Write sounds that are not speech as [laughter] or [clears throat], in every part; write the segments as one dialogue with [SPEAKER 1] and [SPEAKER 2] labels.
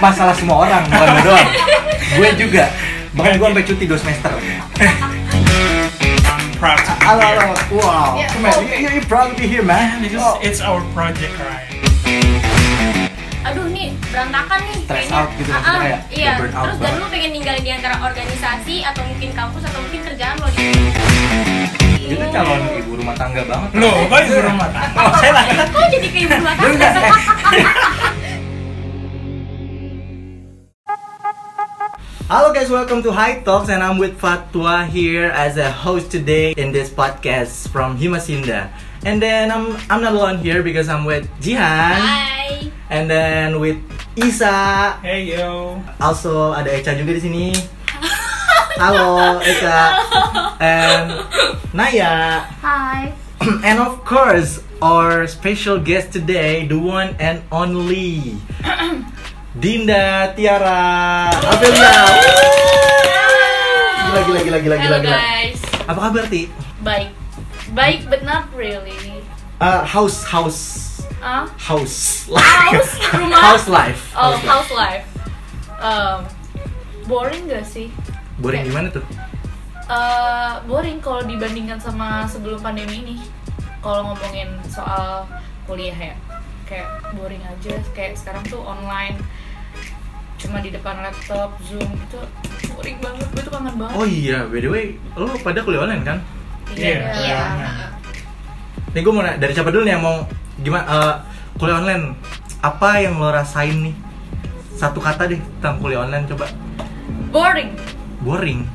[SPEAKER 1] masalah semua orang bukan lu doang gue juga bahkan gue sampai cuti 2 semester
[SPEAKER 2] I'm proud to be
[SPEAKER 1] halo halo
[SPEAKER 2] here.
[SPEAKER 1] wow
[SPEAKER 3] Yeah,
[SPEAKER 1] come on
[SPEAKER 3] okay.
[SPEAKER 1] you, you proud to be here man
[SPEAKER 2] This is-
[SPEAKER 1] Oh,
[SPEAKER 2] It's our project, Ryan.
[SPEAKER 3] aduh nih berantakan nih
[SPEAKER 1] Stress
[SPEAKER 3] kayaknya.
[SPEAKER 1] out gitu
[SPEAKER 3] Ah,
[SPEAKER 1] maksudnya
[SPEAKER 3] ah,
[SPEAKER 1] kayak
[SPEAKER 3] iya
[SPEAKER 1] burn out
[SPEAKER 3] terus dan
[SPEAKER 1] banget.
[SPEAKER 3] lu pengen ninggalin di antara organisasi atau mungkin kampus atau mungkin kerjaan lo Iya.
[SPEAKER 1] itu calon gitu. ibu rumah tangga banget
[SPEAKER 2] Loh, kok ibu rumah tangga? Oh, saya lah.
[SPEAKER 3] kok jadi kayak ibu rumah
[SPEAKER 1] Lu
[SPEAKER 3] tangga
[SPEAKER 1] enggak, eh. Hello guys, welcome to High Talks and I'm with Fatwa here as a host today in this podcast from Himasinda. And then I'm I'm not alone here because I'm with Jihan
[SPEAKER 3] Hai
[SPEAKER 1] and then with Isa.
[SPEAKER 2] Hey yo.
[SPEAKER 1] Also ada Echa juga di sini. Halo Echa. And Naya. [clears throat]
[SPEAKER 3] Hai
[SPEAKER 1] and of course, our special guest today, the one and only [clears throat] Dinda Tiara Abelia. Gila gila gila gila gila
[SPEAKER 4] Hello
[SPEAKER 1] gila.
[SPEAKER 4] guys,
[SPEAKER 1] Apa kabar Ti?
[SPEAKER 4] baik, baik but not really.
[SPEAKER 1] Uh, house house
[SPEAKER 4] Ah,
[SPEAKER 1] house [laughs]
[SPEAKER 4] House? Rumah?
[SPEAKER 1] house life.
[SPEAKER 4] oh
[SPEAKER 1] House life.
[SPEAKER 4] house life. Um, boring gak sih?
[SPEAKER 1] Boring gimana tuh?
[SPEAKER 4] Eh, boring kalau dibandingkan sama sebelum pandemi ini. Kalau ngomongin soal kuliah ya, kayak boring aja. Kayak sekarang tuh online, cuma di depan laptop, zoom itu boring banget. Gue tuh kangen banget.
[SPEAKER 1] Oh iya, by the way, lo pada kuliah online kan?
[SPEAKER 2] Iya.
[SPEAKER 3] Iya.
[SPEAKER 1] Nih gue mau na- dari siapa dulu nih yang mau gimana eh, kuliah online? Apa yang lo rasain nih? Satu kata deh tentang kuliah online coba.
[SPEAKER 4] Boring.
[SPEAKER 1] boring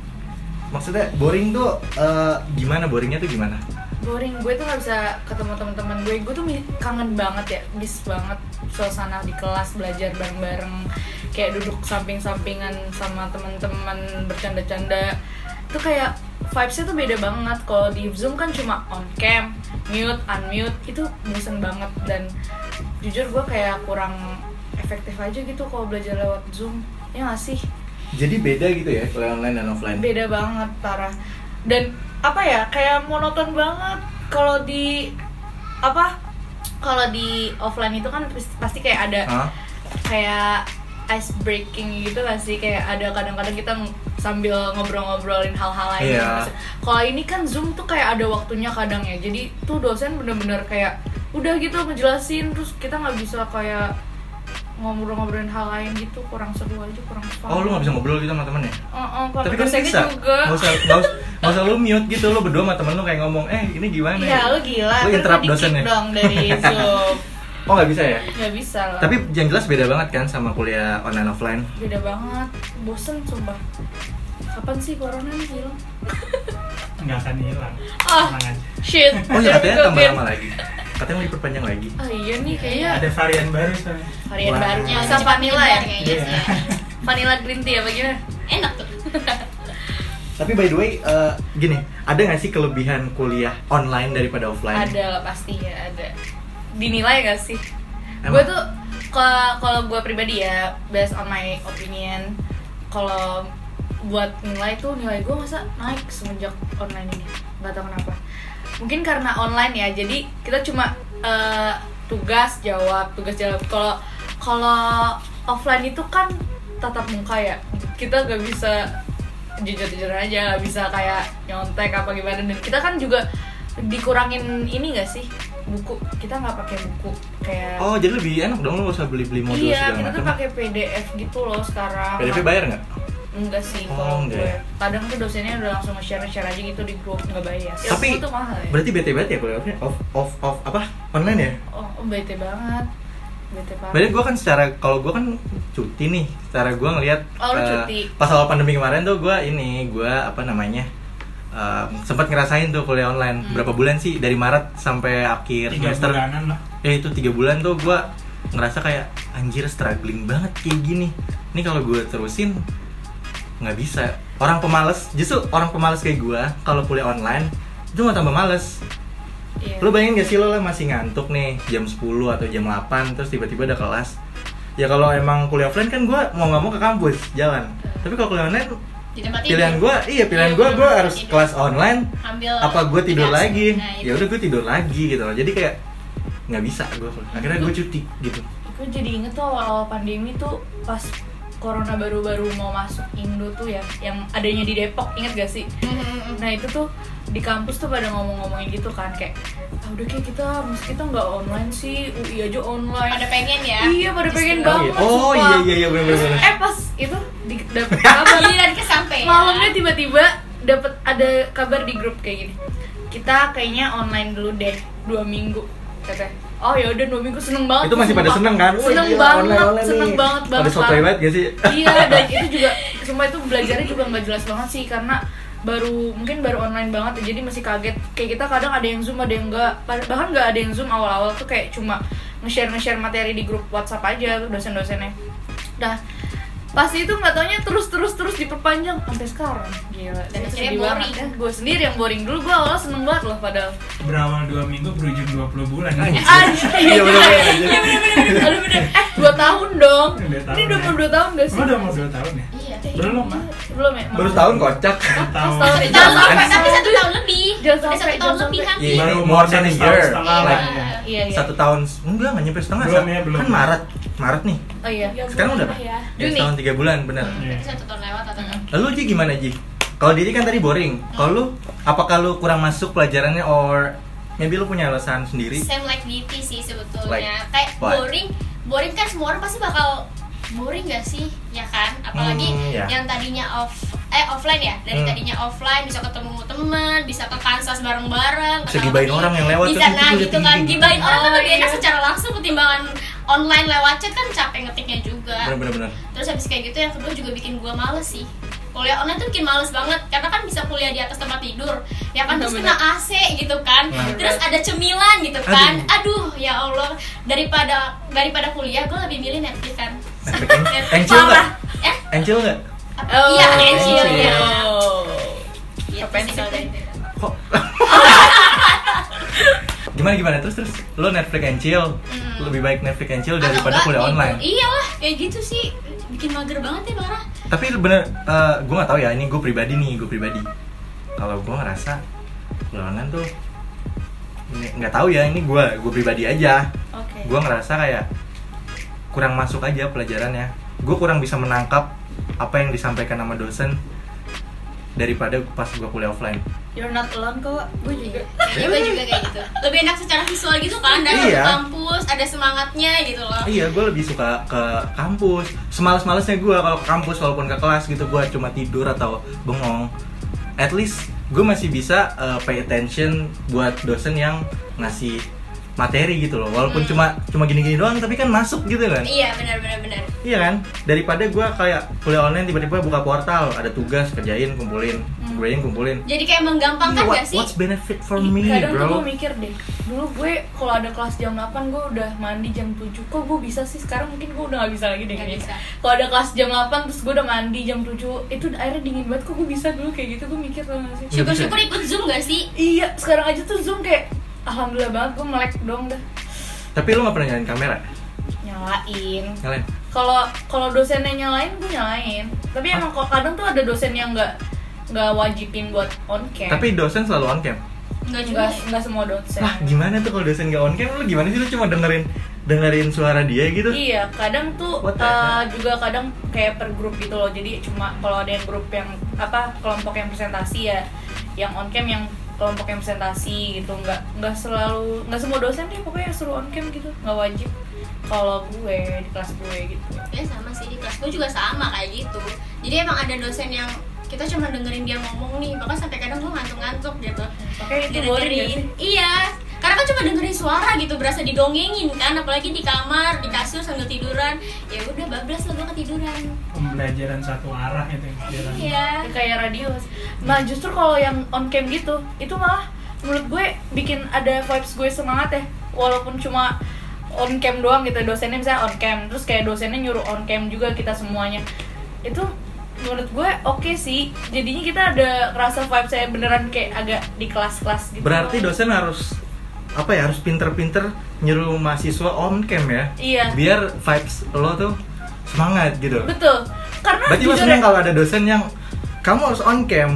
[SPEAKER 1] maksudnya boring tuh eh, gimana boringnya tuh gimana
[SPEAKER 4] boring gue tuh gak bisa ketemu teman-teman gue gue tuh mi- kangen banget ya bis banget suasana di kelas belajar bareng-bareng kayak duduk samping-sampingan sama teman-teman bercanda-canda itu kayak vibesnya tuh beda banget kalau di zoom kan cuma on cam mute unmute itu bosen banget dan jujur gue kayak kurang efektif aja gitu kalau belajar lewat zoom ya nggak sih
[SPEAKER 1] jadi beda gitu ya kuliah online dan offline
[SPEAKER 4] beda banget parah dan apa ya kayak monoton banget kalau di apa kalau di offline itu kan pasti- pasti kayak ada
[SPEAKER 1] Hah?
[SPEAKER 4] kayak ice breaking gitu gak sih kayak ada kadang-kadang kita ng- sambil ngobrol-ngobrolin hal-hal lain
[SPEAKER 1] Iya.
[SPEAKER 4] Maksud- kalau ini kan zoom tuh kayak ada waktunya kadang ya jadi tuh dosen bener-bener kayak udah gitu ngejelasin terus kita nggak bisa kayak ngobrol-ngobrolin hal lain gitu kurang seru aja kurang fun
[SPEAKER 1] oh lu nggak bisa ngobrol gitu sama temen ya
[SPEAKER 4] Oh, oh, kalau
[SPEAKER 1] tapi kan
[SPEAKER 4] dosennya
[SPEAKER 1] bisa
[SPEAKER 4] juga.
[SPEAKER 1] nggak usah nggak usah nggak usah lu mute gitu lu berdua sama temen lu kayak ngomong eh ini gimana
[SPEAKER 4] Iya, lu gila.
[SPEAKER 1] Lu
[SPEAKER 4] Terus
[SPEAKER 1] interrupt
[SPEAKER 4] di-kick
[SPEAKER 1] dosennya.
[SPEAKER 4] dong dari
[SPEAKER 1] [laughs]
[SPEAKER 4] Zoom.
[SPEAKER 1] oh nggak bisa ya
[SPEAKER 4] Gak bisa lah.
[SPEAKER 1] tapi yang jelas beda banget kan sama kuliah online offline
[SPEAKER 4] beda banget. Bosen sumpah. Kapan sih corona nih hilang?
[SPEAKER 2] Nggak akan hilang.
[SPEAKER 4] Oh,
[SPEAKER 2] Tenang aja.
[SPEAKER 4] shit.
[SPEAKER 1] oh ya katanya
[SPEAKER 4] Gua
[SPEAKER 1] tambah
[SPEAKER 4] pengen-
[SPEAKER 1] lama lagi katanya mau diperpanjang lagi
[SPEAKER 4] Ah iya nih kayaknya
[SPEAKER 2] Ada varian baru soalnya.
[SPEAKER 4] varian
[SPEAKER 1] Wah. Iya.
[SPEAKER 4] baru.
[SPEAKER 1] Ya,
[SPEAKER 4] Masa vanilla ya?
[SPEAKER 3] kayaknya sih ya.
[SPEAKER 4] Vanilla green tea apa gimana?
[SPEAKER 3] enak tuh
[SPEAKER 1] tapi by the way eh, gini ada nggak sih kelebihan kuliah online daripada offline
[SPEAKER 4] Ada lah pasti ya, ada. Dinilai gak sih?
[SPEAKER 1] Emang?
[SPEAKER 4] Gue tuh kalau kalau gue pribadi ya based on my opinion kalau buat nilai tuh nilai gue masa naik semenjak online ini nggak tahu kenapa mungkin karena online ya jadi kita cuma eh, tugas jawab tugas jawab kalau kalau offline itu kan tatap muka ya kita gak bisa jujur-jujuran aja nggak bisa kayak nyontek apa gimana dan kita kan juga dikurangin ini gak sih buku kita nggak pakai buku kayak
[SPEAKER 1] oh jadi lebih enak dong lu nggak usah beli beli modul
[SPEAKER 4] iya,
[SPEAKER 1] segala
[SPEAKER 4] kita tuh
[SPEAKER 1] macam
[SPEAKER 4] pakai PDF gitu loh sekarang.
[SPEAKER 1] PDF bayar nggak
[SPEAKER 4] Enggak sih,
[SPEAKER 1] Oh,
[SPEAKER 4] kalau
[SPEAKER 1] enggak
[SPEAKER 4] gue.
[SPEAKER 1] ya.
[SPEAKER 4] Kadang tuh dosennya udah langsung nge-share-share aja gitu di grup nggak bayar. Ya,
[SPEAKER 1] Tapi-
[SPEAKER 4] semua tuh mahal ya.
[SPEAKER 1] Berarti bete banget ya kuliah offline? off off off apa online ya?
[SPEAKER 4] Oh, oh, bete banget. Bete banget.
[SPEAKER 1] Berarti gue kan secara kalau gue kan cuti nih, secara gue ngelihat
[SPEAKER 4] Oh, lu
[SPEAKER 1] eh,
[SPEAKER 4] cuti.
[SPEAKER 1] pas awal pandemi kemarin tuh gue ini gue apa namanya eh, sempat ngerasain tuh kuliah online
[SPEAKER 4] Hmm.
[SPEAKER 1] berapa bulan sih dari Maret sampai akhir
[SPEAKER 2] Tiga
[SPEAKER 1] Iya, semester
[SPEAKER 2] bulanan lah.
[SPEAKER 1] ya itu tiga bulan tuh gue ngerasa kayak anjir struggling banget kayak gini ini kalau gue terusin nggak bisa orang pemalas justru orang pemalas kayak gue kalau kuliah online itu mau tambah males
[SPEAKER 4] Iya.
[SPEAKER 1] Lu bayangin gak sih lo lah masih ngantuk nih jam 10 atau jam 8 terus tiba-tiba ada kelas. Ya kalau emang kuliah offline kan gua mau nggak mau ke kampus jalan. Tapi kalau kuliah online
[SPEAKER 3] di tempat tidur
[SPEAKER 1] pilihan gua iya pilihan gua gua harus kelas online
[SPEAKER 3] ambil
[SPEAKER 1] apa
[SPEAKER 4] Iya
[SPEAKER 1] gua tidur
[SPEAKER 3] tugas.
[SPEAKER 1] lagi.
[SPEAKER 3] Nah, itu.
[SPEAKER 1] Ya udah gua tidur lagi gitu loh. Jadi kayak nggak bisa gua. Akhirnya gua cuti gitu.
[SPEAKER 4] gue jadi inget tuh awal-awal pandemi tuh pas corona baru-baru mau masuk Indo tuh ya yang adanya di Depok inget gak sih nah itu tuh di kampus tuh pada ngomong-ngomongin gitu kan kayak ah, udah kayak kita mesti kita nggak online sih UI aja online
[SPEAKER 3] Pada pengen ya.
[SPEAKER 4] iya pada pengen
[SPEAKER 1] Oh iya,
[SPEAKER 4] banget
[SPEAKER 1] oh,
[SPEAKER 4] sumpah.
[SPEAKER 1] iya, iya, iya, bener-bener.
[SPEAKER 4] eh pas itu di, dapet kabar
[SPEAKER 3] Giliran kesampean.
[SPEAKER 4] malamnya tiba-tiba dapat ada kabar di grup kayak gini kita kayaknya online dulu deh dua minggu katanya oh ya udah dua minggu seneng banget
[SPEAKER 1] Itu masih pada
[SPEAKER 4] sumpah.
[SPEAKER 1] seneng kan? Wih,
[SPEAKER 4] seneng
[SPEAKER 2] Iya,
[SPEAKER 1] gila,
[SPEAKER 4] banget
[SPEAKER 1] online-online
[SPEAKER 4] seneng
[SPEAKER 1] nih.
[SPEAKER 4] banget
[SPEAKER 1] Pada
[SPEAKER 4] banget
[SPEAKER 1] sotoy
[SPEAKER 4] Pak.
[SPEAKER 1] banget gak sih?
[SPEAKER 4] iya dan itu juga semua itu belajarnya juga nggak jelas banget sih karena baru mungkin baru online banget ya, jadi masih kaget kayak kita kadang ada yang zoom ada yang enggak bahkan nggak ada yang zoom awal-awal tuh kayak cuma nge-share nge-share materi di grup WhatsApp aja tuh dosen-dosennya nah pasti itu nggak taunya terus terus terus diperpanjang sampai sekarang gila
[SPEAKER 3] Dan
[SPEAKER 4] Itu
[SPEAKER 3] akhirnya
[SPEAKER 4] sedih banget. ya.
[SPEAKER 3] boring.
[SPEAKER 4] gue sendiri yang boring dulu gue awalnya seneng banget loh padahal
[SPEAKER 2] Berawal 2 minggu berujung 20 bulan
[SPEAKER 1] Anjir.
[SPEAKER 4] Anjir,
[SPEAKER 1] Iya,
[SPEAKER 4] iya juga
[SPEAKER 1] bener-bener,
[SPEAKER 4] ya.
[SPEAKER 1] anjir.
[SPEAKER 4] Iya, bener-bener, bener-bener. eh dua tahun dong
[SPEAKER 2] Dua tahun
[SPEAKER 4] ini
[SPEAKER 2] ya.
[SPEAKER 4] dua puluh dua tahun gak sih
[SPEAKER 2] Lo udah mau 2 tahun ya?
[SPEAKER 3] Iya.
[SPEAKER 2] Belum ah
[SPEAKER 4] belum ya
[SPEAKER 1] Baru tahun kocak.
[SPEAKER 4] Iya. Kan
[SPEAKER 2] Satu tahun
[SPEAKER 4] sorry.
[SPEAKER 1] Apaan
[SPEAKER 3] Jangan sampai,
[SPEAKER 1] sih?
[SPEAKER 3] tapi satu tahun lebih.
[SPEAKER 4] Jangan
[SPEAKER 3] Tapi
[SPEAKER 4] sampai,
[SPEAKER 3] satu tahun
[SPEAKER 4] jangan
[SPEAKER 3] lebih
[SPEAKER 4] sampai.
[SPEAKER 3] kan.
[SPEAKER 1] Iya,
[SPEAKER 2] Baru
[SPEAKER 1] ini more
[SPEAKER 2] mau
[SPEAKER 1] than a
[SPEAKER 2] satu
[SPEAKER 1] year.
[SPEAKER 2] tahun setengah
[SPEAKER 1] Like,
[SPEAKER 2] lah ya.
[SPEAKER 4] iya iya
[SPEAKER 1] satu tahun, enggak, nggak nyampe setengah.
[SPEAKER 2] Belum
[SPEAKER 1] Sa.
[SPEAKER 2] ya, belum.
[SPEAKER 1] Kan Maret, Maret nih.
[SPEAKER 4] oh iya
[SPEAKER 1] Sekarang udah berapa?
[SPEAKER 3] Berapa ya?
[SPEAKER 1] Ya,
[SPEAKER 4] Juni.
[SPEAKER 1] setahun tiga bulan, bener.
[SPEAKER 2] Iya.
[SPEAKER 3] Tapi satu tahun lewat atau enggak?
[SPEAKER 1] Lalu Ji gimana Ji? Kalau diri kan tadi boring. Kalau lu, apakah lu kurang masuk pelajarannya or maybe lu punya alasan sendiri?
[SPEAKER 3] Same like Diti sih sebetulnya.
[SPEAKER 1] Like
[SPEAKER 3] Kayak
[SPEAKER 1] what?
[SPEAKER 3] boring, boring kan semua orang pasti bakal boring gak sih? Ya kan? Apalagi
[SPEAKER 1] Hmm, ya.
[SPEAKER 3] yang tadinya off eh offline ya. Dari
[SPEAKER 1] Hmm.
[SPEAKER 3] tadinya offline bisa ketemu teman, bisa ke Kansas bareng-bareng,
[SPEAKER 1] Bisa
[SPEAKER 3] ketawa
[SPEAKER 1] gibain
[SPEAKER 3] bareng.
[SPEAKER 1] orang yang lewat
[SPEAKER 3] Bisa
[SPEAKER 1] terus,
[SPEAKER 3] nah
[SPEAKER 1] itu
[SPEAKER 3] gitu
[SPEAKER 1] liatin
[SPEAKER 3] kan.
[SPEAKER 1] gitu.
[SPEAKER 3] Gibain orang kan
[SPEAKER 4] Oh,
[SPEAKER 3] lebih enak
[SPEAKER 4] iya.
[SPEAKER 3] secara langsung ketimbang online lewat chat kan capek ngetiknya juga.
[SPEAKER 1] Bener-bener.
[SPEAKER 3] Terus habis kayak gitu yang kedua juga bikin gua males sih Kuliah online tuh bikin males banget Karena kan bisa kuliah di atas tempat tidur Ya kan terus kena
[SPEAKER 4] Bener-bener.
[SPEAKER 3] AC gitu kan
[SPEAKER 1] Nah, Bener.
[SPEAKER 3] Terus ada cemilan gitu kan Aduh, ya Allah Daripada daripada kuliah gua lebih milih Netflix kan
[SPEAKER 1] Encil nggak?
[SPEAKER 3] Eh?
[SPEAKER 1] Encil nggak?
[SPEAKER 3] apa?
[SPEAKER 1] Oh,
[SPEAKER 4] Oh.
[SPEAKER 3] Iya,
[SPEAKER 1] encil.
[SPEAKER 3] Angel ya
[SPEAKER 4] Apaan sih?
[SPEAKER 3] gitu.
[SPEAKER 1] Kok? gimana gimana terus terus lu Netflix and chill
[SPEAKER 3] Hmm.
[SPEAKER 1] lebih baik Netflix and chill daripada kuliah online
[SPEAKER 3] Iya lah, kayak gitu sih Bikin mager banget ya
[SPEAKER 1] [laughs]
[SPEAKER 3] Bara
[SPEAKER 1] tapi bener eh, gua gue nggak tahu ya ini gue pribadi nih gue pribadi kalau gue ngerasa kuliah online tuh ini- nggak tahu ya ini gue gue pribadi aja
[SPEAKER 4] oke
[SPEAKER 1] gue ngerasa kayak kurang masuk aja pelajarannya gue kurang bisa menangkap apa yang disampaikan sama dosen daripada pas gue kuliah offline
[SPEAKER 4] you're not alone kok gue juga
[SPEAKER 3] Iya, gue juga kayak gitu Lebih enak secara visual gitu kan Dari
[SPEAKER 1] Iya.
[SPEAKER 3] kampus, ada semangatnya gitu loh
[SPEAKER 1] Iya, gue lebih suka ke kampus. Semalas-malasnya gue kalau ke kampus walaupun ke kelas gitu, gue cuma tidur atau bengong. At least gue masih bisa uh, pay attention buat dosen yang ngasih materi gitu loh. Walaupun
[SPEAKER 3] Hmm.
[SPEAKER 1] cuma cuma gini-gini doang, tapi kan masuk gitu kan.
[SPEAKER 3] Iya, benar-benar benar.
[SPEAKER 1] Iya kan? Daripada gue kayak kuliah online tiba-tiba buka portal, ada tugas kerjain, kumpulin,
[SPEAKER 4] Hmm.
[SPEAKER 1] kerjain, kumpulin.
[SPEAKER 3] Jadi
[SPEAKER 1] Iya,
[SPEAKER 3] kayak menggampangkan
[SPEAKER 1] what-
[SPEAKER 3] gak sih?
[SPEAKER 1] what's benefit for
[SPEAKER 4] Ih,
[SPEAKER 1] me,
[SPEAKER 4] kadang
[SPEAKER 1] bro?
[SPEAKER 4] tuh gue mikir deh dulu gue kalau ada kelas jam 8 gue udah mandi jam 7 kok gue bisa sih sekarang mungkin gue udah gak Iya, bisa lagi deh
[SPEAKER 3] Nggak
[SPEAKER 4] kayaknya.
[SPEAKER 3] bisa.
[SPEAKER 4] kalau ada kelas jam 8 terus gue udah mandi jam 7 itu airnya dingin banget kok gue bisa dulu kayak gitu gue mikir tau gak sih
[SPEAKER 3] Syukur-syukur ikut Zoom gak sih?
[SPEAKER 4] iya sekarang aja tuh zoom kayak alhamdulillah banget gue melek dong dah
[SPEAKER 1] Tapi lu gak pernah nyalain kamera?
[SPEAKER 4] nyalain
[SPEAKER 1] Nyalain?
[SPEAKER 4] kalau kalau dosennya nyalain gue nyalain tapi emang kok kadang tuh ada dosen yang nggak nggak wajibin buat on cam
[SPEAKER 1] Tapi dosen selalu on cam?
[SPEAKER 3] Enggak juga.
[SPEAKER 4] nggak nggak semua dosen
[SPEAKER 1] lah gimana tuh kalau dosen gak on cam lu gimana sih lu cuma dengerin dengerin suara dia gitu
[SPEAKER 4] Iya, kadang tuh
[SPEAKER 1] What the
[SPEAKER 4] eh,
[SPEAKER 1] heck?
[SPEAKER 4] juga kadang kayak per grup gitu loh. Jadi cuma kalau ada yang grup yang apa kelompok yang presentasi ya, yang on cam yang kelompok yang presentasi gitu. Nggak nggak selalu nggak semua dosen deh pokoknya suruh on cam gitu, nggak wajib. Kalau gue di kelas gue gitu.
[SPEAKER 3] Ya sama sih di kelas gue juga sama kayak gitu. Jadi emang ada dosen yang kita cuma dengerin dia ngomong nih, bahkan sampai kadang gue ngantuk-ngantuk gitu.
[SPEAKER 4] Oke, itu boring gak
[SPEAKER 3] Dengerin.
[SPEAKER 4] sih?
[SPEAKER 3] Iya. Karena kan cuma dengerin suara gitu, berasa didongengin kan, apalagi di kamar, di kasur sambil tiduran. Ya udah bablas lah gue ketiduran.
[SPEAKER 2] Pembelajaran satu arah itu yang jalan.
[SPEAKER 3] Iya.
[SPEAKER 4] Ya, kayak radio sih. nah justru kalau yang on cam gitu itu malah menurut gue bikin ada vibes gue semangat ya walaupun cuma on cam doang gitu dosennya misalnya on cam terus kayak dosennya nyuruh on cam juga kita semuanya itu menurut gue oke sih jadinya kita ada ngerasa vibes saya beneran kayak agak di kelas-kelas gitu
[SPEAKER 1] berarti dosen harus apa ya harus pinter-pinter nyuruh mahasiswa on cam ya
[SPEAKER 4] Iya.
[SPEAKER 1] biar vibes lo tuh semangat gitu
[SPEAKER 4] betul karena
[SPEAKER 1] berarti lo
[SPEAKER 4] jujur
[SPEAKER 1] seneng
[SPEAKER 4] ya- Eh,
[SPEAKER 1] kalau ada dosen yang kamu harus on cam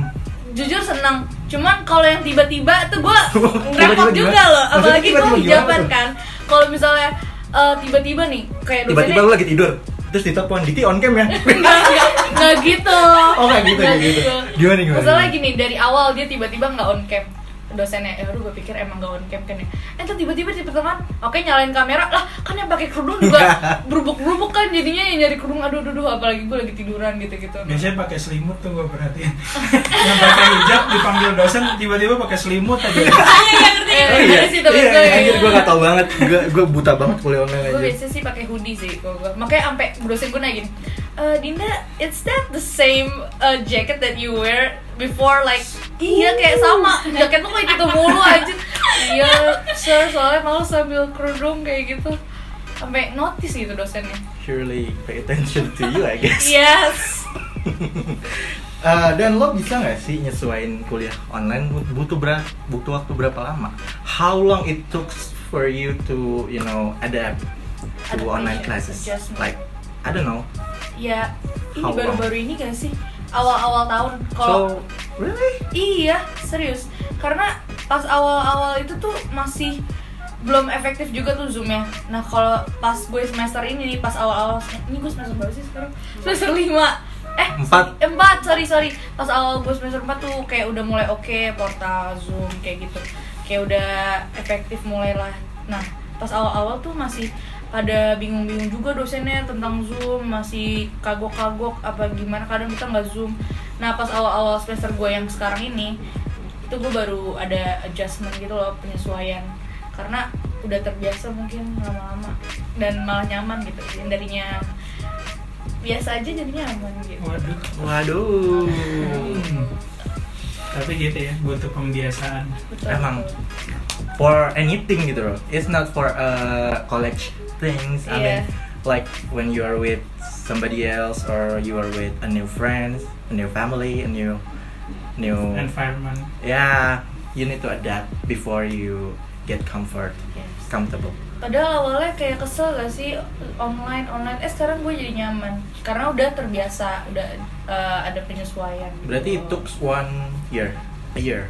[SPEAKER 4] jujur seneng cuman kalau yang tiba-tiba tuh gue
[SPEAKER 1] [laughs] Tiba-tiba
[SPEAKER 4] repot
[SPEAKER 1] gimana?
[SPEAKER 4] juga loh
[SPEAKER 1] Maksudnya
[SPEAKER 4] apalagi gue
[SPEAKER 1] tiba-tiba gimana
[SPEAKER 4] hijaban
[SPEAKER 1] tuh?
[SPEAKER 4] kan kalau misalnya eh, tiba-tiba nih kayak
[SPEAKER 1] Tiba-tiba lu
[SPEAKER 4] [laughs] dosennya
[SPEAKER 1] lagi tidur, terus ditelepon Diki on
[SPEAKER 4] [laughs]
[SPEAKER 1] cam ya?
[SPEAKER 4] enggak enggak enggak gitu
[SPEAKER 1] Oh kayak gitu,
[SPEAKER 4] Enggak
[SPEAKER 1] kayak gitu. Gimana gimana?
[SPEAKER 4] Masalah gini, dari awal dia tiba-tiba nggak on cam dosennya, ya aduh gue pikir emang nggak on cam kan ya Eh tuh tiba-tiba di pertengahan, oke nyalain kamera Lah kan yang pakai
[SPEAKER 1] [laughs]
[SPEAKER 4] kerudung juga berubuk-berubuk kan jadinya yang nyari kerudung Aduh aduh aduh apalagi gue lagi tiduran gitu-gitu
[SPEAKER 1] Iya.
[SPEAKER 2] Biasanya pakai selimut tuh gue perhatiin. [laughs] Yang pakai hijab dipanggil dosen tiba-tiba pakai selimut
[SPEAKER 4] [laughs]
[SPEAKER 2] aja.
[SPEAKER 3] Tanya yang ngerti.
[SPEAKER 4] Eh,
[SPEAKER 1] Oh
[SPEAKER 4] dari
[SPEAKER 1] iya,
[SPEAKER 4] situ
[SPEAKER 1] iya,
[SPEAKER 4] betul.
[SPEAKER 1] anjir gue gak tau banget, gue gue buta banget kuliah online
[SPEAKER 4] Gue
[SPEAKER 1] aja.
[SPEAKER 4] biasanya sih pakai hoodie sih kalau gue Makanya sampai dosen gue nanya gini "Eh, Dinda, is that the same uh, jacket that you wear before like Iya kayak sama, jaket lu kayak gitu mulu aja Iya, sir, soalnya malu sambil kerudung kayak gitu Sampai notice gitu dosennya
[SPEAKER 1] Surely pay attention to you, I
[SPEAKER 4] Iya.
[SPEAKER 1] guess.
[SPEAKER 4] Yes
[SPEAKER 1] Eh, dan lo bisa nggak sih nyesuaiin kuliah online Bu- butuh berapa butuh waktu berapa lama? How long it took for you to you know adapt to
[SPEAKER 4] Adaptation,
[SPEAKER 1] online classes?
[SPEAKER 4] adjustment.
[SPEAKER 1] Like I don't know.
[SPEAKER 4] Ya, ini
[SPEAKER 1] How long?
[SPEAKER 4] baru-baru ini gak sih? Awal-awal tahun Kalau
[SPEAKER 1] So really?
[SPEAKER 4] Iya, serius. Karena pas awal-awal itu tuh masih belum efektif juga tuh zoomnya. Nah kalau pas gue semester ini nih, pas awal-awal ini gue semester berapa sih sekarang? Semester lima. Eh
[SPEAKER 1] Empat.
[SPEAKER 4] sorry, Empat, sorry sorry. Pas awal gue semester empat tuh kayak udah mulai oke portal zoom kayak gitu. Kayak udah efektif mulailah. Nah pas awal-awal tuh masih pada bingung-bingung juga dosennya tentang zoom masih kagok-kagok apa gimana kadang kita nggak zoom Nah pas awal-awal semester gue yang sekarang ini itu gue baru ada adjustment gitu loh penyesuaian karena udah terbiasa mungkin lama-lama dan malah nyaman gitu yang darinya biasa aja jadi nyaman gitu.
[SPEAKER 2] Waduh.
[SPEAKER 1] Waduh.
[SPEAKER 2] Hmm. Tapi gitu ya, butuh pembiasaan.
[SPEAKER 4] Betul.
[SPEAKER 1] Emang for anything gitu loh. It's not for uh, college things. I mean
[SPEAKER 4] Iya.
[SPEAKER 1] like when you are with somebody else or you are with a new friends, a new family, a new new
[SPEAKER 2] Environment.
[SPEAKER 1] yeah, Ya, you need to adapt before you get comfort
[SPEAKER 4] Yes.
[SPEAKER 1] comfortable.
[SPEAKER 4] Padahal awalnya kayak kesel gak sih online online. Eh sekarang gue jadi nyaman karena udah terbiasa udah eh, ada penyesuaian. gitu.
[SPEAKER 1] Berarti it took one year, a year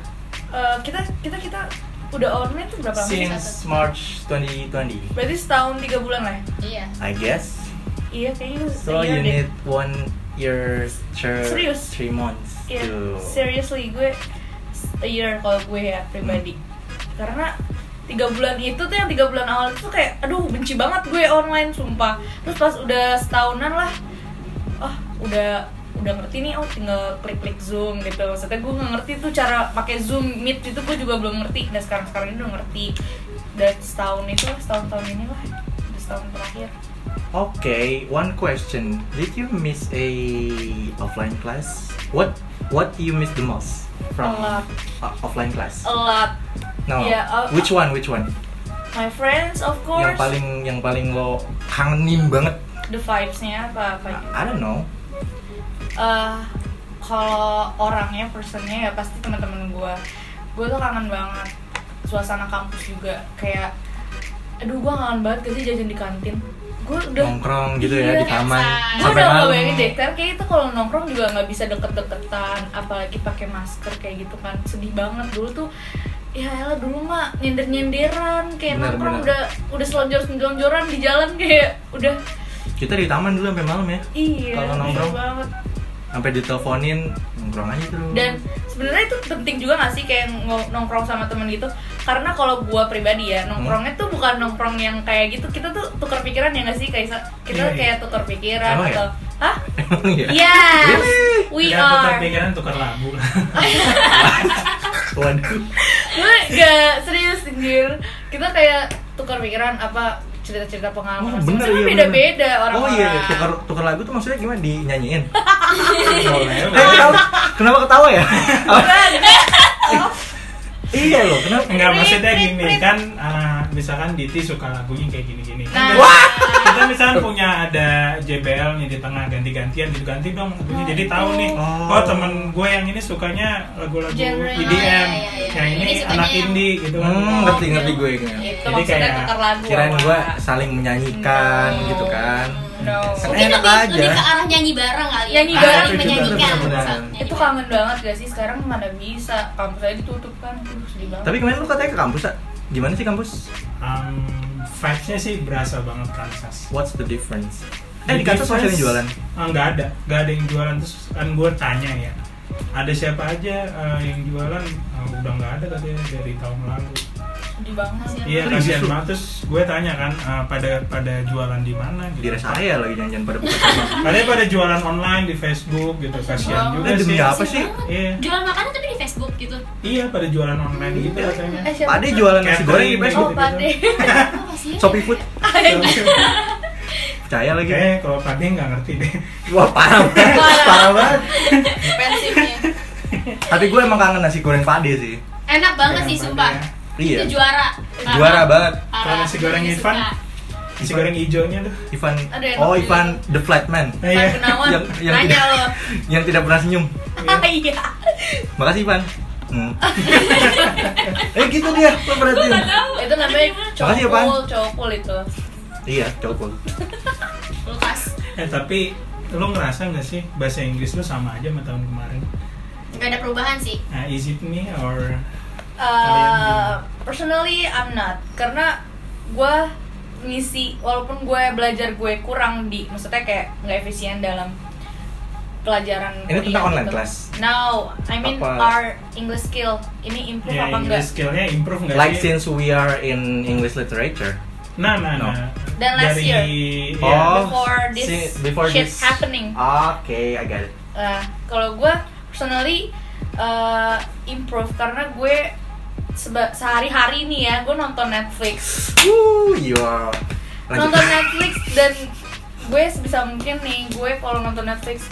[SPEAKER 4] Eh, kita kita kita udah online tuh berapa lama? sih?
[SPEAKER 1] since March 2020.
[SPEAKER 4] Berarti setahun tiga bulan lah. ya?
[SPEAKER 3] Iya.
[SPEAKER 1] I guess.
[SPEAKER 4] Iya kayaknya
[SPEAKER 1] So
[SPEAKER 4] iya
[SPEAKER 1] you
[SPEAKER 4] deh.
[SPEAKER 1] need one year, sure,
[SPEAKER 4] Serius?
[SPEAKER 1] three months
[SPEAKER 4] Iya,
[SPEAKER 1] to.
[SPEAKER 4] seriously gue s- a year kalau gue ya pribadi. Karena tiga bulan itu tuh yang tiga bulan awal itu kayak aduh benci banget gue online sumpah. Terus pas udah setahunan lah, oh udah udah ngerti nih oh tinggal klik-klik zoom gitu maksudnya gue nggak ngerti tuh cara pakai zoom meet itu gue juga belum ngerti nah sekarang sekarang ini udah ngerti dan setahun itu lah setahun tahun ini lah udah setahun terakhir
[SPEAKER 1] Okay, one question. Did you miss a offline class? What What do you miss the most from
[SPEAKER 4] A lot.
[SPEAKER 1] o- offline class?
[SPEAKER 4] a lot
[SPEAKER 1] No.
[SPEAKER 4] Yeah, uh,
[SPEAKER 1] which one? Which one?
[SPEAKER 4] my friends of
[SPEAKER 1] Yang
[SPEAKER 4] course
[SPEAKER 1] paling yang paling lo kangenin banget?
[SPEAKER 4] the vibesnya apa apa
[SPEAKER 1] I don't know.
[SPEAKER 4] eh kalau orangnya personnya ya pasti teman-teman gue gue tuh kangen banget suasana kampus juga kayak aduh gue kangen banget ke sih jajan di kantin gue udah
[SPEAKER 1] Nongkrong gitu ya
[SPEAKER 4] Iya,
[SPEAKER 1] di taman
[SPEAKER 3] biasa.
[SPEAKER 4] gue
[SPEAKER 1] sampai
[SPEAKER 4] udah nggak
[SPEAKER 1] malam.
[SPEAKER 4] bayangin deh karena kayak itu kalau nongkrong juga nggak bisa deket-deketan apalagi pakai masker kayak gitu kan sedih banget dulu tuh ya elah dulu mah nyender nyenderan kayak
[SPEAKER 1] Benar,
[SPEAKER 4] nongkrong
[SPEAKER 1] benar.
[SPEAKER 4] udah udah selonjor selonjoran di jalan kayak udah
[SPEAKER 1] Kita di taman dulu sampai malam ya.
[SPEAKER 4] iya
[SPEAKER 1] Kalau
[SPEAKER 4] sedih
[SPEAKER 1] nongkrong.
[SPEAKER 4] banget
[SPEAKER 1] Sampai diteleponin nongkrong aja terus.
[SPEAKER 4] dan sebenarnya itu penting juga gak sih kayak ngo- nongkrong sama temen gitu karena kalau gua pribadi
[SPEAKER 1] Hmm.
[SPEAKER 4] ya nongkrongnya tuh bukan nongkrong yang kayak gitu kita tuh tukar pikiran ya gak sih kayak
[SPEAKER 2] Iya,
[SPEAKER 4] kita
[SPEAKER 2] iya.
[SPEAKER 4] kayak tukar pikiran
[SPEAKER 1] Emang ya?
[SPEAKER 4] atau hah
[SPEAKER 1] Emang ya?
[SPEAKER 4] iya. yes we
[SPEAKER 2] ya, tukar
[SPEAKER 4] are
[SPEAKER 2] pikiran tukar labu lah.
[SPEAKER 1] Waduh.
[SPEAKER 4] gue gak serius anjir kita kayak tukar pikiran apa cerita-cerita
[SPEAKER 1] Oh,
[SPEAKER 4] pengalaman
[SPEAKER 1] bener,
[SPEAKER 4] Maksudnya
[SPEAKER 1] iya,
[SPEAKER 4] beda-beda
[SPEAKER 1] bener.
[SPEAKER 4] orang-orang
[SPEAKER 1] Oh iya, tukar, tukar lagu tuh maksudnya gimana? Dinyanyiin? Eh,
[SPEAKER 2] Boleh.
[SPEAKER 1] kenapa, kenapa ketawa
[SPEAKER 4] [laughs]
[SPEAKER 1] ya? [laughs] iya loh, kenapa?
[SPEAKER 4] Hmm,
[SPEAKER 2] Enggak maksudnya
[SPEAKER 4] Prit, prit,
[SPEAKER 2] gini
[SPEAKER 4] prit.
[SPEAKER 2] kan ah, misalkan Diti suka lagunya kayak gini-gini. Kan
[SPEAKER 4] Nah.
[SPEAKER 2] kita- kita misalkan punya ada JBL nih di tengah ganti-gantian gitu ganti dong lagunya. Jadi tahu nih
[SPEAKER 1] Oh.
[SPEAKER 2] oh temen gue yang ini sukanya lagu-lagu
[SPEAKER 4] Genre.
[SPEAKER 2] EDM,
[SPEAKER 3] Oh, iya, iya, iya.
[SPEAKER 2] yang ini
[SPEAKER 3] Ini sukanya
[SPEAKER 2] anak
[SPEAKER 3] yang-
[SPEAKER 2] indie gitu kan.
[SPEAKER 1] Hmm, ngerti
[SPEAKER 4] iya.
[SPEAKER 1] ngerti gue ingat.
[SPEAKER 4] itu
[SPEAKER 2] Jadi
[SPEAKER 4] Gitu, maksudnya
[SPEAKER 2] kayak
[SPEAKER 4] tukar lagu
[SPEAKER 1] Kirain
[SPEAKER 4] apa.
[SPEAKER 1] gue saling menyanyikan
[SPEAKER 4] No.
[SPEAKER 1] gitu kan.
[SPEAKER 4] No.
[SPEAKER 1] Kan
[SPEAKER 3] Mungkin
[SPEAKER 1] enak
[SPEAKER 3] lebih,
[SPEAKER 1] aja. Iya,
[SPEAKER 3] lebih ke arah nyanyi bareng kali ya.
[SPEAKER 4] Nyanyi
[SPEAKER 3] Saling
[SPEAKER 4] bareng. Itu juga
[SPEAKER 3] menyanyikan.
[SPEAKER 1] benar-benar.
[SPEAKER 3] Saling nyanyi
[SPEAKER 4] itu
[SPEAKER 3] bareng.
[SPEAKER 4] kangen banget gak sih sekarang mana bisa kampus aja ditutup kan Aduh, sedih banget
[SPEAKER 1] Tapi kemarin lu katanya ke kampus, ya? Gimana sih kampus?
[SPEAKER 2] um, vibes-nya sih berasa banget Kansas.
[SPEAKER 1] What's the difference? Eh
[SPEAKER 2] The
[SPEAKER 1] di kampus masih ada yang
[SPEAKER 2] difference-
[SPEAKER 1] jualan.
[SPEAKER 2] Ah, nggak ada, nggak ada yang jualan terus kan gue tanya ya. Ada siapa aja eh, yang jualan? Ah, udah nggak ada katanya dari tahun lalu.
[SPEAKER 4] sedih banget
[SPEAKER 3] Iya.
[SPEAKER 2] Iya
[SPEAKER 1] Serius
[SPEAKER 2] kasihan
[SPEAKER 1] lu?
[SPEAKER 2] banget terus gue tanya kan ah, pada pada jualan di mana?
[SPEAKER 1] Di Iya.
[SPEAKER 2] Gitu.
[SPEAKER 1] rest area lagi jangan-jangan pada buka sama.
[SPEAKER 2] Kalian pada jualan online di Facebook gitu kasihan
[SPEAKER 4] Wow.
[SPEAKER 2] juga
[SPEAKER 1] Eh, demi
[SPEAKER 2] sih.
[SPEAKER 1] apa sih?
[SPEAKER 3] banget.
[SPEAKER 2] Iya.
[SPEAKER 3] Jualan makanan tapi di Facebook gitu.
[SPEAKER 1] [laughs]
[SPEAKER 2] Iya pada jualan online gitu katanya. [laughs]
[SPEAKER 4] Eh, siapa?
[SPEAKER 1] Pade jualan nasi
[SPEAKER 2] Catering
[SPEAKER 1] goreng di
[SPEAKER 2] gitu.
[SPEAKER 1] Facebook.
[SPEAKER 4] oh pade
[SPEAKER 3] Apa sih?
[SPEAKER 1] Shopee Food percaya lagi.
[SPEAKER 2] Kayaknya Eh, kalau Pade nggak ngerti deh.
[SPEAKER 1] Wah
[SPEAKER 4] [laughs]
[SPEAKER 1] parah banget, parah banget.
[SPEAKER 4] pensifnya
[SPEAKER 1] Tapi gue emang kangen nasi goreng Pade sih.
[SPEAKER 3] Enak banget sih
[SPEAKER 2] Pade
[SPEAKER 3] sumpah.
[SPEAKER 2] ya.
[SPEAKER 1] Iya.
[SPEAKER 3] Itu juara. Parah.
[SPEAKER 1] Juara banget.
[SPEAKER 3] Parah. Iya,
[SPEAKER 2] Kalau nasi goreng
[SPEAKER 3] Gue
[SPEAKER 2] Irfan?
[SPEAKER 3] suka.
[SPEAKER 2] Si goreng hijaunya tuh.
[SPEAKER 1] Ivan,
[SPEAKER 4] Aduh, enak
[SPEAKER 1] oh
[SPEAKER 4] juga.
[SPEAKER 1] Ivan the Flatman
[SPEAKER 2] Eh,
[SPEAKER 4] Pak
[SPEAKER 2] iya.
[SPEAKER 4] Gunawan
[SPEAKER 1] Yang- yang
[SPEAKER 4] nanya
[SPEAKER 1] tidak-
[SPEAKER 4] lo
[SPEAKER 1] yang tidak pernah senyum.
[SPEAKER 4] [laughs] iya
[SPEAKER 1] Makasih Ivan.
[SPEAKER 4] [laughs]
[SPEAKER 1] Hmm. eh gitu dia, lo perhatiin.
[SPEAKER 4] itu namanya
[SPEAKER 1] Makasih ya, Pan.
[SPEAKER 4] cowok cowok itu
[SPEAKER 1] Iya, cowok.
[SPEAKER 3] Lukas.
[SPEAKER 2] [laughs] Eh tapi lu ngerasa nggak sih bahasa Inggris lu sama aja sama tahun kemarin?
[SPEAKER 3] Gak ada perubahan sih.
[SPEAKER 2] Nah, is it me or
[SPEAKER 4] Eh, personally I'm not karena gue ngisi walaupun gue belajar gue kurang di maksudnya kayak nggak efisien dalam pelajaran
[SPEAKER 1] Ini
[SPEAKER 4] kuliah
[SPEAKER 1] tentang online
[SPEAKER 4] gitu.
[SPEAKER 1] class?
[SPEAKER 4] No, I mean
[SPEAKER 1] Apa?
[SPEAKER 4] our English skill ini improve
[SPEAKER 2] ya
[SPEAKER 4] apa
[SPEAKER 2] English
[SPEAKER 4] enggak?
[SPEAKER 2] skillnya improve nggak
[SPEAKER 1] Like
[SPEAKER 2] sih?
[SPEAKER 1] since we are in English literature.
[SPEAKER 2] Nah, nah,
[SPEAKER 1] No. Oh,
[SPEAKER 2] nah.
[SPEAKER 4] Dan last
[SPEAKER 2] Dari,
[SPEAKER 4] year.
[SPEAKER 2] ya,
[SPEAKER 4] Before this
[SPEAKER 1] si- before
[SPEAKER 4] shit
[SPEAKER 1] this-
[SPEAKER 4] happening.
[SPEAKER 1] Oke, I got it.
[SPEAKER 4] Nah, kalau gue personally eh, improve karena gue seba- sehari-hari nih ya gue nonton Netflix,
[SPEAKER 1] Woo, you are. Lanjut. [laughs]
[SPEAKER 4] nonton Netflix dan gue sebisa mungkin nih gue kalau nonton Netflix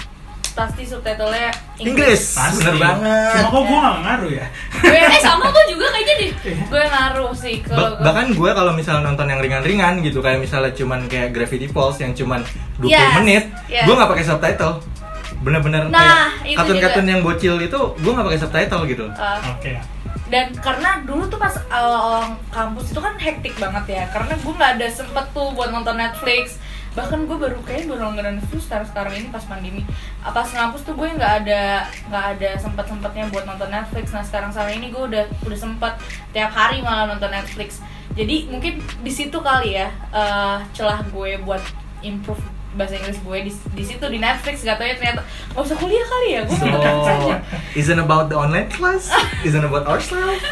[SPEAKER 4] pasti subtitlenya
[SPEAKER 1] Inggris.
[SPEAKER 2] pasti.
[SPEAKER 1] Bener banget.
[SPEAKER 2] Cuma kok gue nggak ngaruh
[SPEAKER 4] [laughs]
[SPEAKER 2] ya?
[SPEAKER 4] gue
[SPEAKER 3] [laughs] Eh sama gue juga kayaknya deh.
[SPEAKER 4] gue ngaruh sih
[SPEAKER 1] Ba-
[SPEAKER 4] kalau gue.
[SPEAKER 1] bahkan gue kalau misalnya nonton yang ringan-ringan gitu kayak misalnya cuman kayak Gravity Falls yang cuman 20
[SPEAKER 4] Yes,
[SPEAKER 1] menit,
[SPEAKER 4] yes.
[SPEAKER 1] gue nggak pakai subtitle. Bener-bener
[SPEAKER 4] Nah,
[SPEAKER 1] kayak
[SPEAKER 4] itu
[SPEAKER 1] kartun-kartun yang bocil itu gue nggak pakai subtitle gitu.
[SPEAKER 4] Eh,
[SPEAKER 2] Oke.
[SPEAKER 4] dan karena dulu tuh pas awal-awal kampus itu kan hektik banget ya karena gue nggak ada sempet tuh buat nonton Netflix bahkan gue baru kayak baru nonton Netflix sekarang sekarang ini pas pandemi Ah, pas kampus tuh gue nggak ada nggak ada sempet sempetnya buat nonton Netflix nah sekarang sekarang ini gue udah udah sempet tiap hari malah nonton Netflix jadi mungkin di situ kali ya eh, celah gue buat improve bahasa Inggris gue di, di situ di Netflix gak tau ya ternyata nggak usah kuliah kali ya gue [laughs]
[SPEAKER 1] So,
[SPEAKER 4] nonton Netflix aja
[SPEAKER 1] isn't about the online class, isn't about
[SPEAKER 4] [laughs]
[SPEAKER 1] ourselves.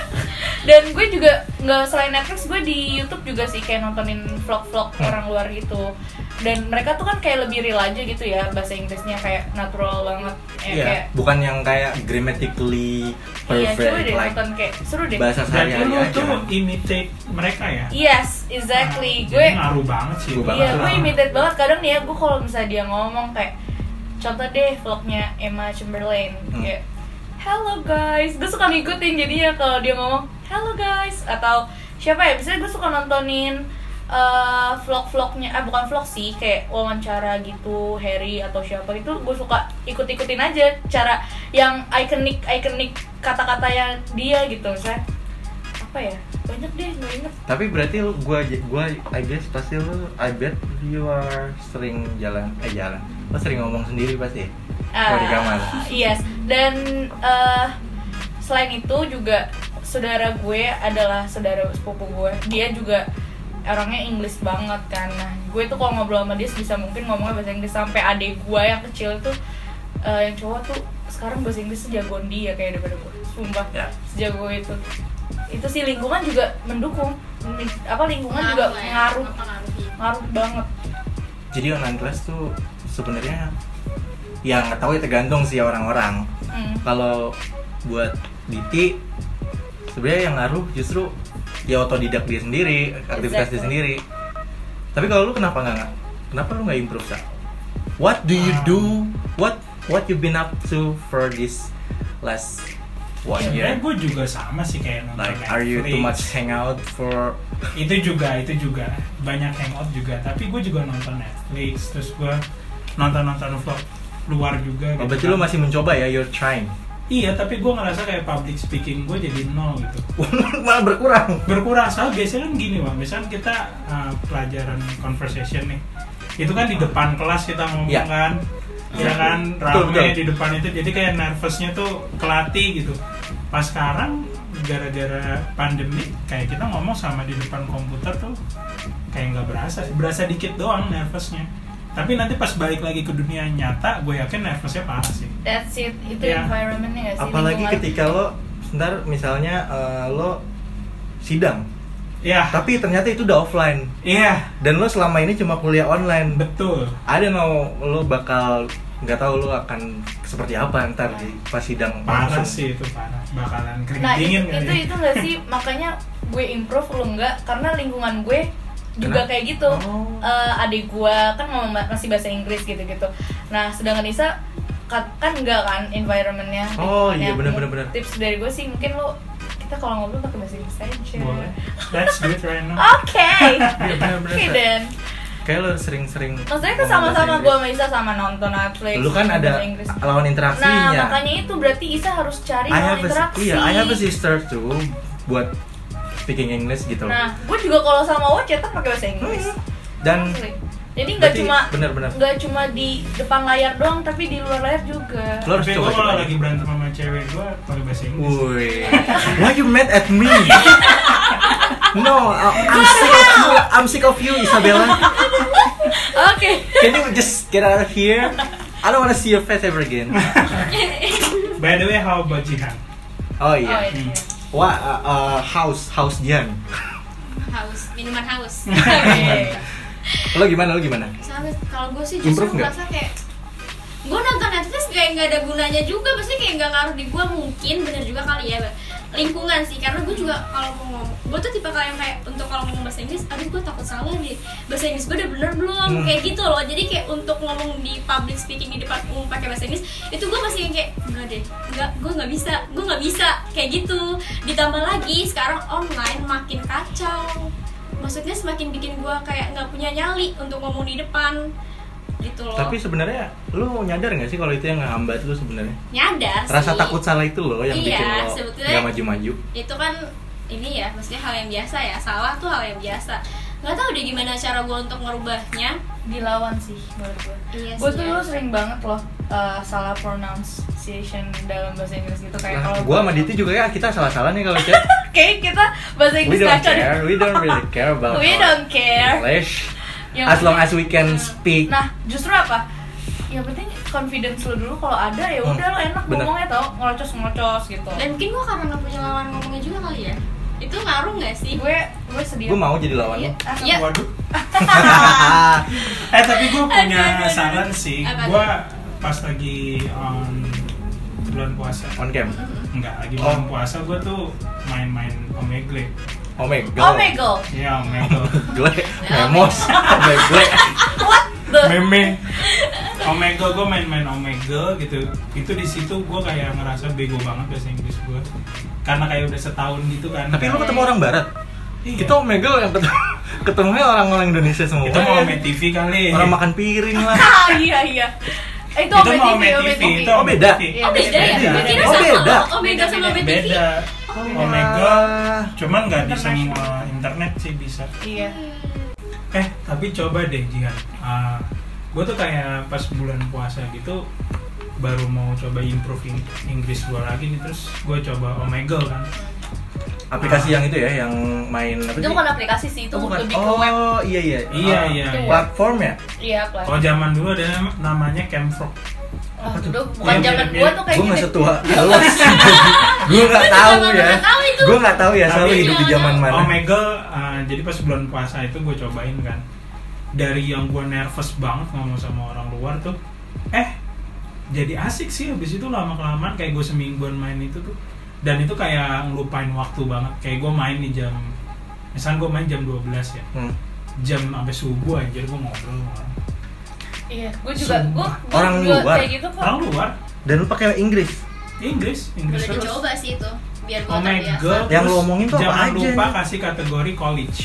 [SPEAKER 4] dan gue juga nggak selain Netflix gue di YouTube juga sih kayak nontonin vlog-vlog
[SPEAKER 1] Hmm.
[SPEAKER 4] orang luar gitu dan mereka tuh kan kayak lebih real aja gitu ya bahasa Inggrisnya kayak natural banget ya,
[SPEAKER 1] Iya,
[SPEAKER 4] kayak
[SPEAKER 1] bukan yang kayak grammatically
[SPEAKER 4] iya coba
[SPEAKER 1] perfect
[SPEAKER 4] deh
[SPEAKER 1] like
[SPEAKER 4] nonton kayak seru deh
[SPEAKER 1] bahasa
[SPEAKER 2] Jadi
[SPEAKER 1] sehari-hari
[SPEAKER 2] lu
[SPEAKER 1] aja.
[SPEAKER 2] tuh imitate mereka ya?
[SPEAKER 4] yes
[SPEAKER 2] Nah,
[SPEAKER 4] exactly gue
[SPEAKER 1] Hmm.
[SPEAKER 2] jadi ngaruh banget sih.
[SPEAKER 1] Ngaruh
[SPEAKER 4] iya
[SPEAKER 1] banget.
[SPEAKER 4] gue imitate banget kadang nih ya gue kalau misalnya dia ngomong kayak contoh deh vlognya Emma Chamberlain
[SPEAKER 1] Hmm.
[SPEAKER 4] kayak hello guys gue suka ngikutin jadinya kalau dia ngomong hello guys atau siapa ya biasanya gue suka nontonin eh, vlog-vlognya ah bukan vlog sih kayak wawancara gitu Harry atau siapa itu gue suka ikut-ikutin aja cara yang ikonik ikonik kata-kata yang dia gitu misalnya apa ya banyak deh gue inget
[SPEAKER 1] Tapi berarti lu gua gua I guess pasti lu I bet you are sering jalan eh jalan. Lu sering ngomong sendiri pasti. Kalau
[SPEAKER 4] Ah.
[SPEAKER 1] di kamar.
[SPEAKER 4] Yes. Dan eh, selain itu juga saudara gue adalah saudara sepupu gue. Dia juga orangnya Inggris banget kan. Nah, gue tuh kalau ngobrol sama dia sebisa mungkin ngomongnya bahasa Inggris sampai adik gue yang kecil tuh eh, yang cowok tuh sekarang bahasa Inggris sejagoan dia kayak daripada gue. Sumpah.
[SPEAKER 1] Ya.
[SPEAKER 4] Sejago itu. Itu sih lingkungan juga mendukung. Min- Apa lingkungan
[SPEAKER 3] Ngaruh
[SPEAKER 4] juga
[SPEAKER 3] lah ya,
[SPEAKER 4] ngaruh
[SPEAKER 3] mempengaruhi.
[SPEAKER 4] ngaruh banget.
[SPEAKER 1] Jadi online class tuh sebenarnya ya nggak tahu ya tergantung sih orang-orang.
[SPEAKER 4] Hmm.
[SPEAKER 1] Kalau buat Diti sebenarnya yang ngaruh justru ya otodidak dia sendiri, aktivitas dia
[SPEAKER 4] Exactly.
[SPEAKER 1] sendiri. Tapi kalau lu kenapa nggak kenapa lu nggak improve Sa? What do you do? What what you been up to for this last one year?
[SPEAKER 2] Sebenarnya gue juga sama sih kayak
[SPEAKER 1] Oh,
[SPEAKER 2] nonton
[SPEAKER 1] iya. Like are you too
[SPEAKER 2] Netflix.
[SPEAKER 1] much hangout for
[SPEAKER 2] itu juga itu juga banyak hangout juga tapi gue juga nonton Netflix terus gue nonton nonton vlog luar
[SPEAKER 1] Oh,
[SPEAKER 2] juga gitu
[SPEAKER 1] berarti
[SPEAKER 2] kan.
[SPEAKER 1] lu masih mencoba ya, you're trying. [laughs]
[SPEAKER 2] iya tapi gue ngerasa kayak public speaking gue jadi nol gitu
[SPEAKER 1] Malah berkurang.
[SPEAKER 2] berkurang soalnya biasanya kan gini bang misalnya kita uh, pelajaran conversation nih itu kan di depan kelas kita ngomong
[SPEAKER 1] Iya.
[SPEAKER 2] kan ya kan
[SPEAKER 1] Betul,
[SPEAKER 2] rame
[SPEAKER 1] betul.
[SPEAKER 2] di depan itu jadi kayak nervousnya tuh kelatih gitu pas sekarang gara-gara pandemi kayak kita ngomong sama di depan komputer tuh kayak nggak berasa sih. berasa dikit doang nervousnya tapi nanti pas balik lagi ke dunia nyata gue yakin nervousnya parah sih
[SPEAKER 4] That's it, itu
[SPEAKER 2] Iya.
[SPEAKER 4] environmentnya gak sih?
[SPEAKER 1] Ya. apalagi
[SPEAKER 4] Lingkungan.
[SPEAKER 1] ketika lo ntar misalnya eh, lo sidang
[SPEAKER 2] iya
[SPEAKER 1] tapi ternyata itu udah offline
[SPEAKER 2] iya
[SPEAKER 1] dan lo selama ini cuma kuliah online
[SPEAKER 2] betul
[SPEAKER 1] ada mau lo bakal nggak tahu lo akan seperti apa ntar di pas sidang
[SPEAKER 2] parah
[SPEAKER 1] langsung.
[SPEAKER 2] sih itu parah bakalan kering
[SPEAKER 4] Nah
[SPEAKER 2] dingin
[SPEAKER 4] itu,
[SPEAKER 2] kali
[SPEAKER 4] itu
[SPEAKER 2] ya.
[SPEAKER 4] itu gak sih makanya gue improve lo enggak karena lingkungan gue juga
[SPEAKER 1] Kenapa?
[SPEAKER 4] kayak gitu
[SPEAKER 1] Oh.
[SPEAKER 4] Eh, adik gue kan ngomong ba- masih bahasa Inggris gitu-gitu nah sedangkan Nisa ka- kan enggak kan environmentnya
[SPEAKER 1] Oh, iya,
[SPEAKER 4] Nah,
[SPEAKER 1] bener,
[SPEAKER 4] mung-
[SPEAKER 1] bener, bener.
[SPEAKER 4] tips dari gue sih mungkin lo kita kalau ngobrol pakai bahasa Inggris aja
[SPEAKER 2] boleh let's do it right now
[SPEAKER 1] [laughs]
[SPEAKER 4] oke
[SPEAKER 1] Iya, bener, bener,
[SPEAKER 4] oke
[SPEAKER 1] Sa.
[SPEAKER 4] dan
[SPEAKER 1] kayak lo sering-sering
[SPEAKER 4] maksudnya kan
[SPEAKER 1] ngomong
[SPEAKER 4] sama-sama
[SPEAKER 1] bahasa
[SPEAKER 4] gue
[SPEAKER 1] Inggris.
[SPEAKER 4] sama Isa sama nonton Netflix
[SPEAKER 1] lu kan
[SPEAKER 4] nonton
[SPEAKER 1] ada
[SPEAKER 4] bahasa Inggris.
[SPEAKER 1] lawan interaksinya
[SPEAKER 4] nah makanya itu berarti Isa harus cari
[SPEAKER 1] I
[SPEAKER 4] lawan
[SPEAKER 1] have a,
[SPEAKER 4] interaksi
[SPEAKER 1] iya, I have a sister too buat speaking English gitu loh.
[SPEAKER 4] Nah, gue juga kalau sama Wo cetak pakai bahasa Inggris.
[SPEAKER 1] Hmm. Dan
[SPEAKER 4] Asli. Jadi nggak
[SPEAKER 1] berarti
[SPEAKER 4] cuma
[SPEAKER 1] benar-benar.
[SPEAKER 4] nggak cuma di depan layar doang, tapi di luar layar juga.
[SPEAKER 1] Lo harus
[SPEAKER 2] tapi
[SPEAKER 1] coba
[SPEAKER 2] gue kalau
[SPEAKER 1] coba.
[SPEAKER 2] lagi berantem sama cewek gue pakai bahasa Inggris
[SPEAKER 1] Woi, why you mad at me? No, I- I'm sick of you. I'm sick of you, Isabella.
[SPEAKER 4] Oke.
[SPEAKER 1] Can you just get out of here? I don't wanna see your face ever again.
[SPEAKER 2] by the way how about Jihan
[SPEAKER 1] Oh
[SPEAKER 4] Oh,
[SPEAKER 1] iya.
[SPEAKER 4] iya.
[SPEAKER 1] [laughs] Wah, uh, uh, house, house Dian.
[SPEAKER 3] haus minuman
[SPEAKER 2] [laughs]
[SPEAKER 3] haus
[SPEAKER 4] Oke.
[SPEAKER 1] Lo gimana? Lo gimana?
[SPEAKER 3] Sama, kalau gue sih
[SPEAKER 1] Improve
[SPEAKER 3] justru
[SPEAKER 1] nggak?
[SPEAKER 3] merasa kayak gue nonton Netflix kayak nggak ada gunanya juga pasti kayak nggak ngaruh di gue mungkin bener juga kali ya lingkungan sih karena gue juga kalau mau ngomong gue tuh tipe kayak yang kayak untuk kalau ngomong bahasa Inggris aduh gue takut salah deh bahasa Inggris gue udah bener belum
[SPEAKER 1] Hmm.
[SPEAKER 3] kayak gitu loh jadi kayak untuk ngomong di public speaking di depan umum pakai bahasa Inggris itu gue masih yang kayak enggak deh enggak gue nggak bisa gue nggak bisa kayak gitu ditambah lagi sekarang online makin kacau maksudnya semakin bikin gue kayak nggak punya nyali untuk ngomong di depan gitu
[SPEAKER 4] Oh.
[SPEAKER 3] loh
[SPEAKER 1] Tapi sebenarnya lo nyadar nggak sih kalau itu yang ngehambat lo sebenarnya?
[SPEAKER 3] nyadar
[SPEAKER 1] Rasa
[SPEAKER 3] sih.
[SPEAKER 1] takut salah itu loh yang
[SPEAKER 3] Iya,
[SPEAKER 1] bikin lo
[SPEAKER 3] sebetulnya-
[SPEAKER 1] nggak maju-maju.
[SPEAKER 3] itu kan ini ya maksudnya hal yang biasa ya salah tuh hal yang biasa nggak tahu deh gimana cara gue untuk merubahnya
[SPEAKER 4] Dilawan sih menurut gue.
[SPEAKER 3] iya
[SPEAKER 4] Gue
[SPEAKER 3] sih
[SPEAKER 4] tuh
[SPEAKER 3] ya.
[SPEAKER 4] dulu sering banget loh eh, salah pronunciation dalam bahasa Inggris gitu kayak
[SPEAKER 1] Nah,
[SPEAKER 4] kalau
[SPEAKER 1] gua sama
[SPEAKER 4] [laughs]
[SPEAKER 1] Diti juga ya kita salah-salah nih kalau chat.
[SPEAKER 4] Oke, [laughs] kita bahasa
[SPEAKER 1] we
[SPEAKER 4] Inggris
[SPEAKER 1] don't
[SPEAKER 4] kacau.
[SPEAKER 1] care. We don't really care about
[SPEAKER 4] We
[SPEAKER 1] our
[SPEAKER 4] don't care.
[SPEAKER 1] English.
[SPEAKER 4] Yang
[SPEAKER 1] As long as we can speak.
[SPEAKER 4] Nah, justru apa? Ya penting confidence lo dulu kalau ada ya
[SPEAKER 1] Hmm,
[SPEAKER 4] udah lo enak
[SPEAKER 1] bener.
[SPEAKER 4] ngomongnya tau ngelocos-ngelocos gitu.
[SPEAKER 3] dan mungkin gue karena nggak punya lawan ngomongnya juga kali ya itu ngaruh nggak sih
[SPEAKER 4] gue gue sedih.
[SPEAKER 1] Gue mau jadi lawan
[SPEAKER 4] Iya.
[SPEAKER 1] lo.
[SPEAKER 4] Ah,
[SPEAKER 3] Iya.
[SPEAKER 2] waduh
[SPEAKER 4] Iya.
[SPEAKER 2] eh tapi gue
[SPEAKER 3] Aduh, aduh,
[SPEAKER 2] punya
[SPEAKER 3] aduh.
[SPEAKER 2] saran sih
[SPEAKER 3] Apa?
[SPEAKER 2] gue pas lagi on bulan puasa
[SPEAKER 1] [laughs] On cam.
[SPEAKER 2] enggak lagi
[SPEAKER 1] Oh.
[SPEAKER 2] bulan puasa gue tuh main-main omegle
[SPEAKER 1] Omegle.
[SPEAKER 4] Oh
[SPEAKER 1] [laughs]
[SPEAKER 4] my god.
[SPEAKER 2] ya omegle
[SPEAKER 1] Gle. Memos. Omegle.
[SPEAKER 4] What the?
[SPEAKER 2] meme omegle gue main-main omegle gitu itu di situ gue kayak ngerasa bego banget bahasa Inggris gue karena kayak udah setahun gitu kan
[SPEAKER 1] Tapi lu ketemu orang barat.
[SPEAKER 2] Iya.
[SPEAKER 1] Kita Omegle yang ketemu [laughs] ketemunya orang-orang Indonesia semua. Iya.
[SPEAKER 2] itu mau Ome TV kali
[SPEAKER 1] Orang makan piring lah.
[SPEAKER 4] [laughs] Ah, iya iya. Eh, Itu,
[SPEAKER 2] itu mau Ome
[SPEAKER 4] Ome
[SPEAKER 2] TV itu
[SPEAKER 1] Oh, beda?
[SPEAKER 3] oh beda ya
[SPEAKER 2] Beda.
[SPEAKER 3] gue kira
[SPEAKER 1] Oh,
[SPEAKER 3] sama
[SPEAKER 1] beda.
[SPEAKER 3] oh beda sama
[SPEAKER 4] Beda,
[SPEAKER 3] beda
[SPEAKER 2] beda
[SPEAKER 1] Oh, iya.
[SPEAKER 2] Omega cuman nggak di
[SPEAKER 4] International.
[SPEAKER 2] semua internet sih bisa
[SPEAKER 4] Iya.
[SPEAKER 2] eh tapi coba deh Jihan gue tuh kayak pas bulan puasa gitu baru mau coba improve in- Inggris gue lagi nih terus gue coba Omegle kan
[SPEAKER 1] Aplikasi yang itu ya, yang main apa
[SPEAKER 4] Itu
[SPEAKER 1] sih?
[SPEAKER 4] bukan aplikasi sih, itu
[SPEAKER 1] Oh, bukan.
[SPEAKER 4] lebih ke web.
[SPEAKER 1] Oh, iya iya.
[SPEAKER 2] Iya,
[SPEAKER 1] Ah,
[SPEAKER 2] iya,
[SPEAKER 4] iya.
[SPEAKER 1] Platform ya?
[SPEAKER 4] Iya, Play.
[SPEAKER 2] kalau zaman dulu ada nam- namanya Camfrog
[SPEAKER 4] Oh, dulu bukan
[SPEAKER 2] Iya,
[SPEAKER 4] zaman
[SPEAKER 2] mirip-mirip.
[SPEAKER 4] gua tuh kayak
[SPEAKER 1] Gue nggak
[SPEAKER 4] gitu. [laughs]
[SPEAKER 1] setua lo Gue nggak tahu
[SPEAKER 3] juga
[SPEAKER 1] ya
[SPEAKER 3] nggak tahu itu.
[SPEAKER 1] Gue nggak tahu ya Selalu
[SPEAKER 2] Tapi-
[SPEAKER 1] hidup di zaman mana
[SPEAKER 2] Omegle uh, jadi pas bulan puasa itu gue cobain kan dari yang gue nervous banget ngomong sama orang luar tuh eh jadi asik sih habis itu lama kelamaan kayak gue semingguan main itu tuh dan itu kayak ngelupain waktu banget kayak gue main nih jam misalnya gue main jam 12 ya
[SPEAKER 1] Hmm.
[SPEAKER 2] jam sampai subuh anjir gue ngobrol sama orang
[SPEAKER 4] Iya, gua juga gua, gua
[SPEAKER 1] Orang
[SPEAKER 4] juga
[SPEAKER 1] luar.
[SPEAKER 4] kayak gitu kok.
[SPEAKER 2] orang luar
[SPEAKER 1] Dan lu pakai Inggris
[SPEAKER 2] Inggris Inggris
[SPEAKER 3] udah
[SPEAKER 2] terus
[SPEAKER 3] dicoba sih itu biar
[SPEAKER 1] Oh
[SPEAKER 3] gue terbiasa
[SPEAKER 2] Omegle
[SPEAKER 1] ya, Yang
[SPEAKER 2] terus
[SPEAKER 1] lu omongin tuh apa
[SPEAKER 2] jangan
[SPEAKER 1] aja
[SPEAKER 2] lupa
[SPEAKER 1] nih?
[SPEAKER 2] kasih kategori college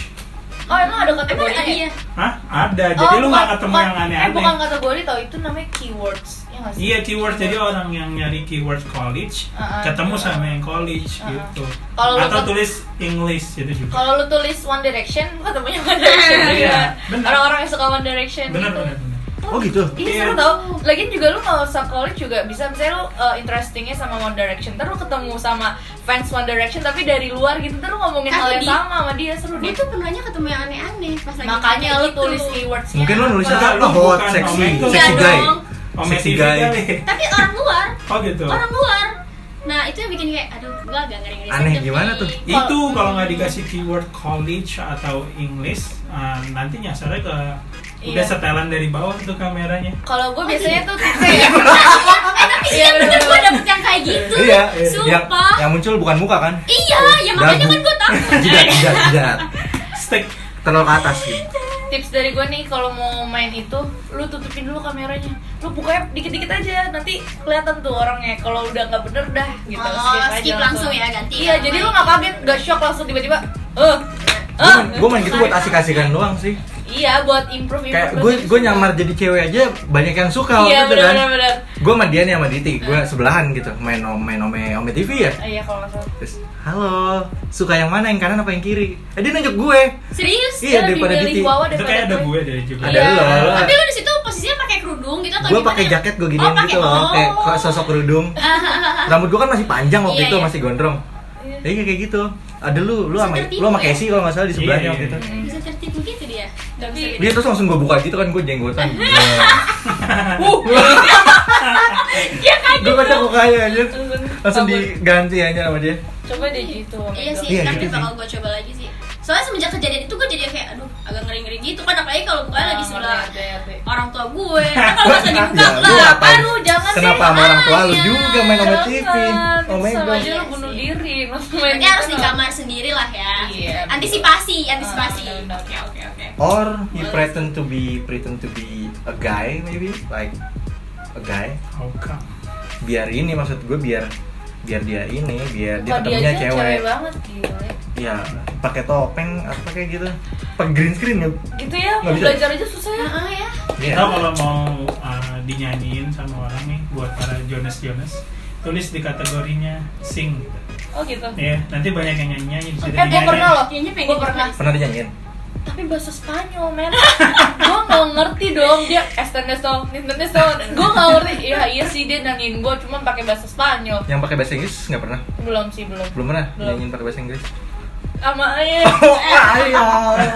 [SPEAKER 4] Oh, emang ada kategori
[SPEAKER 3] Emang iya
[SPEAKER 2] Hah?
[SPEAKER 1] Oh,
[SPEAKER 2] Ada, jadi lu gak ketemu yang
[SPEAKER 4] Eh, Oh, bukan
[SPEAKER 2] aneh-aneh
[SPEAKER 4] kategori tau, itu namanya keywords. Iya nggak sih?
[SPEAKER 2] Iya keywords jadi orang yang nyari keywords college
[SPEAKER 4] Uh-uh.
[SPEAKER 2] ketemu sama yang college
[SPEAKER 4] Uh-uh.
[SPEAKER 2] gitu.
[SPEAKER 4] Kalau lu
[SPEAKER 2] Atau
[SPEAKER 4] ket-
[SPEAKER 2] tulis English itu juga.
[SPEAKER 4] Kalau lu
[SPEAKER 2] [laughs]
[SPEAKER 4] tulis One Direction, lu ketemunya One Direction
[SPEAKER 2] Iya,
[SPEAKER 4] juga.
[SPEAKER 2] bener.
[SPEAKER 4] Orang-orang yang suka One Direction
[SPEAKER 2] Benar
[SPEAKER 4] gitu.
[SPEAKER 2] benar benar.
[SPEAKER 1] Oh gitu.
[SPEAKER 4] Ini
[SPEAKER 2] Iya.
[SPEAKER 4] seru tau. Lagian juga lu kalau usah college juga bisa misalnya lu uh, interestingnya sama One Direction, terus lu ketemu sama fans One Direction tapi dari luar gitu, terus lu ngomongin hal
[SPEAKER 3] Tapi
[SPEAKER 4] yang
[SPEAKER 3] di-
[SPEAKER 4] sama sama dia seru
[SPEAKER 3] Gue
[SPEAKER 4] deh.
[SPEAKER 3] tuh pernahnya ketemu yang aneh-aneh pas lagi
[SPEAKER 4] Makanya
[SPEAKER 3] kayak
[SPEAKER 4] lu
[SPEAKER 3] gitu.
[SPEAKER 4] tulis keywordsnya.
[SPEAKER 1] Mungkin lu
[SPEAKER 4] apa.
[SPEAKER 1] nulisnya
[SPEAKER 2] Enggak,
[SPEAKER 1] kan,
[SPEAKER 2] lu
[SPEAKER 1] oh hot,
[SPEAKER 2] bukan
[SPEAKER 1] seksi,
[SPEAKER 2] omeng, lu
[SPEAKER 1] seksi
[SPEAKER 3] enggak
[SPEAKER 1] guy.
[SPEAKER 3] dong.
[SPEAKER 2] Omeng
[SPEAKER 1] Sexy
[SPEAKER 2] TV
[SPEAKER 1] guy.
[SPEAKER 2] kali.
[SPEAKER 3] Tapi orang luar,
[SPEAKER 2] Oh gitu.
[SPEAKER 3] orang luar. Nah itu yang bikin kayak aduh gue agak ngeri-ngeri.
[SPEAKER 1] Aneh
[SPEAKER 3] sedep
[SPEAKER 1] gimana
[SPEAKER 3] nih.
[SPEAKER 1] tuh?
[SPEAKER 2] itu kalau nggak dikasih keyword college atau English eh, nanti nyasarnya ke udah
[SPEAKER 4] Iya.
[SPEAKER 2] setelan dari bawah tuh kameranya
[SPEAKER 4] Kalau
[SPEAKER 3] Oh,
[SPEAKER 4] gue
[SPEAKER 3] iya.
[SPEAKER 4] biasanya tuh
[SPEAKER 3] [laughs]
[SPEAKER 4] tipsnya ya.
[SPEAKER 3] Eh tapi sih
[SPEAKER 4] Iya,
[SPEAKER 3] yang bener
[SPEAKER 4] bener-bener.
[SPEAKER 3] gue dapet yang kayak gitu.
[SPEAKER 1] Iya, yang,
[SPEAKER 3] Sumpah.
[SPEAKER 1] yang muncul bukan muka kan?
[SPEAKER 3] Iya, ya makanya
[SPEAKER 1] Dagu.
[SPEAKER 3] kan gue
[SPEAKER 1] [laughs]
[SPEAKER 3] takut.
[SPEAKER 1] Jidat, jidat, jidat.
[SPEAKER 2] stick
[SPEAKER 1] Terlalu ke atas gitu.
[SPEAKER 4] Tips dari gue nih kalau mau main itu, lu tutupin dulu kameranya. Lu bukanya dikit-dikit aja, nanti kelihatan tuh orangnya. Kalau udah nggak bener dah gitu.
[SPEAKER 3] Oh, skip langsung ya, ganti
[SPEAKER 4] Iya,
[SPEAKER 3] yang
[SPEAKER 4] jadi lu
[SPEAKER 3] lain.
[SPEAKER 4] nggak kaget, nggak shock langsung tiba-tiba. Eh,
[SPEAKER 1] Gue
[SPEAKER 4] eh.
[SPEAKER 1] main, gua main gitu buat asik-asikan doang sih.
[SPEAKER 4] Iya, buat improve
[SPEAKER 1] Kayak
[SPEAKER 4] improve
[SPEAKER 1] gue
[SPEAKER 4] terus.
[SPEAKER 1] gue nyamar jadi cewek aja banyak yang suka
[SPEAKER 4] Iya,
[SPEAKER 1] gitu
[SPEAKER 4] benar
[SPEAKER 1] kan.
[SPEAKER 4] benar benar.
[SPEAKER 1] Gue sama dia nih sama Diti, gue sebelahan gitu main om main ome ome TV ya.
[SPEAKER 4] Ah, Iya, kalau nggak salah.
[SPEAKER 1] Terus, halo, suka yang mana yang kanan apa yang kiri? Eh, dia nunjuk gue.
[SPEAKER 3] Serius?
[SPEAKER 1] Iya,
[SPEAKER 4] Dia lebih
[SPEAKER 1] daripada
[SPEAKER 4] milih
[SPEAKER 1] Diti.
[SPEAKER 4] Wawa
[SPEAKER 2] itu
[SPEAKER 4] Oh, daripada
[SPEAKER 2] kayak ada
[SPEAKER 4] gue.
[SPEAKER 2] gue dari juga
[SPEAKER 1] Ada
[SPEAKER 4] Iya.
[SPEAKER 1] lo. lo.
[SPEAKER 3] Tapi lu di situ posisinya pakai kerudung gitu atau
[SPEAKER 1] Gue
[SPEAKER 3] gimana?
[SPEAKER 1] pakai jaket gue giniin
[SPEAKER 3] Oh, pakai-
[SPEAKER 1] gitu loh,
[SPEAKER 3] oh.
[SPEAKER 1] kayak kayak sosok kerudung. Rambut gue kan masih panjang waktu
[SPEAKER 3] Iya,
[SPEAKER 1] itu,
[SPEAKER 3] iya.
[SPEAKER 1] masih gondrong.
[SPEAKER 4] Iya.
[SPEAKER 1] Jadi kayak gitu. Ada lu, lu sama
[SPEAKER 3] Tertipu
[SPEAKER 1] lu sama
[SPEAKER 3] ya?
[SPEAKER 1] Casey kalau nggak salah di sebelahnya
[SPEAKER 2] Iya,
[SPEAKER 1] waktu
[SPEAKER 2] iya.
[SPEAKER 1] itu.
[SPEAKER 3] Bisa tertipu gitu dia. Gak bisa gitu.
[SPEAKER 1] Dia terus langsung gue buka gitu kan gue jenggotan. Iya. Nah.
[SPEAKER 4] Uh.
[SPEAKER 1] gue kocak mukanya aja. Langsung diganti aja sama dia.
[SPEAKER 4] Coba deh gitu.
[SPEAKER 3] Iya sih,
[SPEAKER 1] Iya,
[SPEAKER 3] tapi
[SPEAKER 1] gitu
[SPEAKER 3] bakal gue coba lagi sih. Soalnya semenjak kejadian itu gue jadi kayak aduh agak ngeri-ngeri gitu kan apalagi kalau bukan
[SPEAKER 4] Ah,
[SPEAKER 3] lagi sebelah orang tua gue. Kan
[SPEAKER 4] [laughs]
[SPEAKER 3] kalau pas lagi
[SPEAKER 4] Iya,
[SPEAKER 3] buka
[SPEAKER 1] Ya, lu
[SPEAKER 3] lah. kan
[SPEAKER 1] apa?
[SPEAKER 4] lu jangan
[SPEAKER 1] Kenapa
[SPEAKER 4] deh,
[SPEAKER 1] sama orang tua lu
[SPEAKER 3] makanya.
[SPEAKER 1] juga main Iya, sama TV? Oh my
[SPEAKER 4] Iya, Sama
[SPEAKER 1] god.
[SPEAKER 4] aja lu bunuh diri. lu main
[SPEAKER 3] Iya Berarti harus
[SPEAKER 4] gitu
[SPEAKER 3] di
[SPEAKER 4] loh.
[SPEAKER 3] kamar sendiri lah ya.
[SPEAKER 4] Iya.
[SPEAKER 3] Antisipasi, antisipasi.
[SPEAKER 4] Ah, benar-benar.
[SPEAKER 3] Oke, oke, oke.
[SPEAKER 1] Or he pretend to be pretend to be a guy maybe like a guy.
[SPEAKER 2] Oke.
[SPEAKER 1] Biar ini maksud gue biar biar dia ini biar dia
[SPEAKER 4] Muka dia
[SPEAKER 1] ketemunya
[SPEAKER 4] aja
[SPEAKER 1] cewek.
[SPEAKER 4] banget gile.
[SPEAKER 1] Ya pakai topeng apa kayak gitu. Pakai green screen ya.
[SPEAKER 4] Gitu ya,
[SPEAKER 1] Nggak
[SPEAKER 4] mau
[SPEAKER 1] bisa.
[SPEAKER 4] belajar aja susah ya.
[SPEAKER 3] Heeh ya.
[SPEAKER 1] Iya.
[SPEAKER 2] Atau kalau mau uh, dinyanyiin sama orang nih buat para Jonas Jonas tulis di kategorinya sing gitu.
[SPEAKER 4] Oh gitu.
[SPEAKER 1] Iya,
[SPEAKER 2] Ya, nanti banyak yang nyanyi-nyanyi di situ.
[SPEAKER 4] Eh, gue
[SPEAKER 2] dinyanyiin.
[SPEAKER 4] pernah loh.
[SPEAKER 3] Kayaknya pengen
[SPEAKER 4] Gue pernah.
[SPEAKER 1] Pernah dinyanyiin?
[SPEAKER 4] tapi bahasa Spanyol men gue nggak ngerti dong dia eh, Estanesto Nintenesto gue nggak ngerti iya iya sih dia nanyain gue cuma pakai bahasa Spanyol
[SPEAKER 1] Yang pakai bahasa Inggris nggak pernah?
[SPEAKER 4] belum sih belum
[SPEAKER 1] Belum pernah
[SPEAKER 4] Belum.
[SPEAKER 1] dinyanyiin pakai bahasa
[SPEAKER 4] [laughs]
[SPEAKER 1] Inggris?
[SPEAKER 4] sama
[SPEAKER 1] [laughs]
[SPEAKER 4] eh
[SPEAKER 1] Oh, ayo.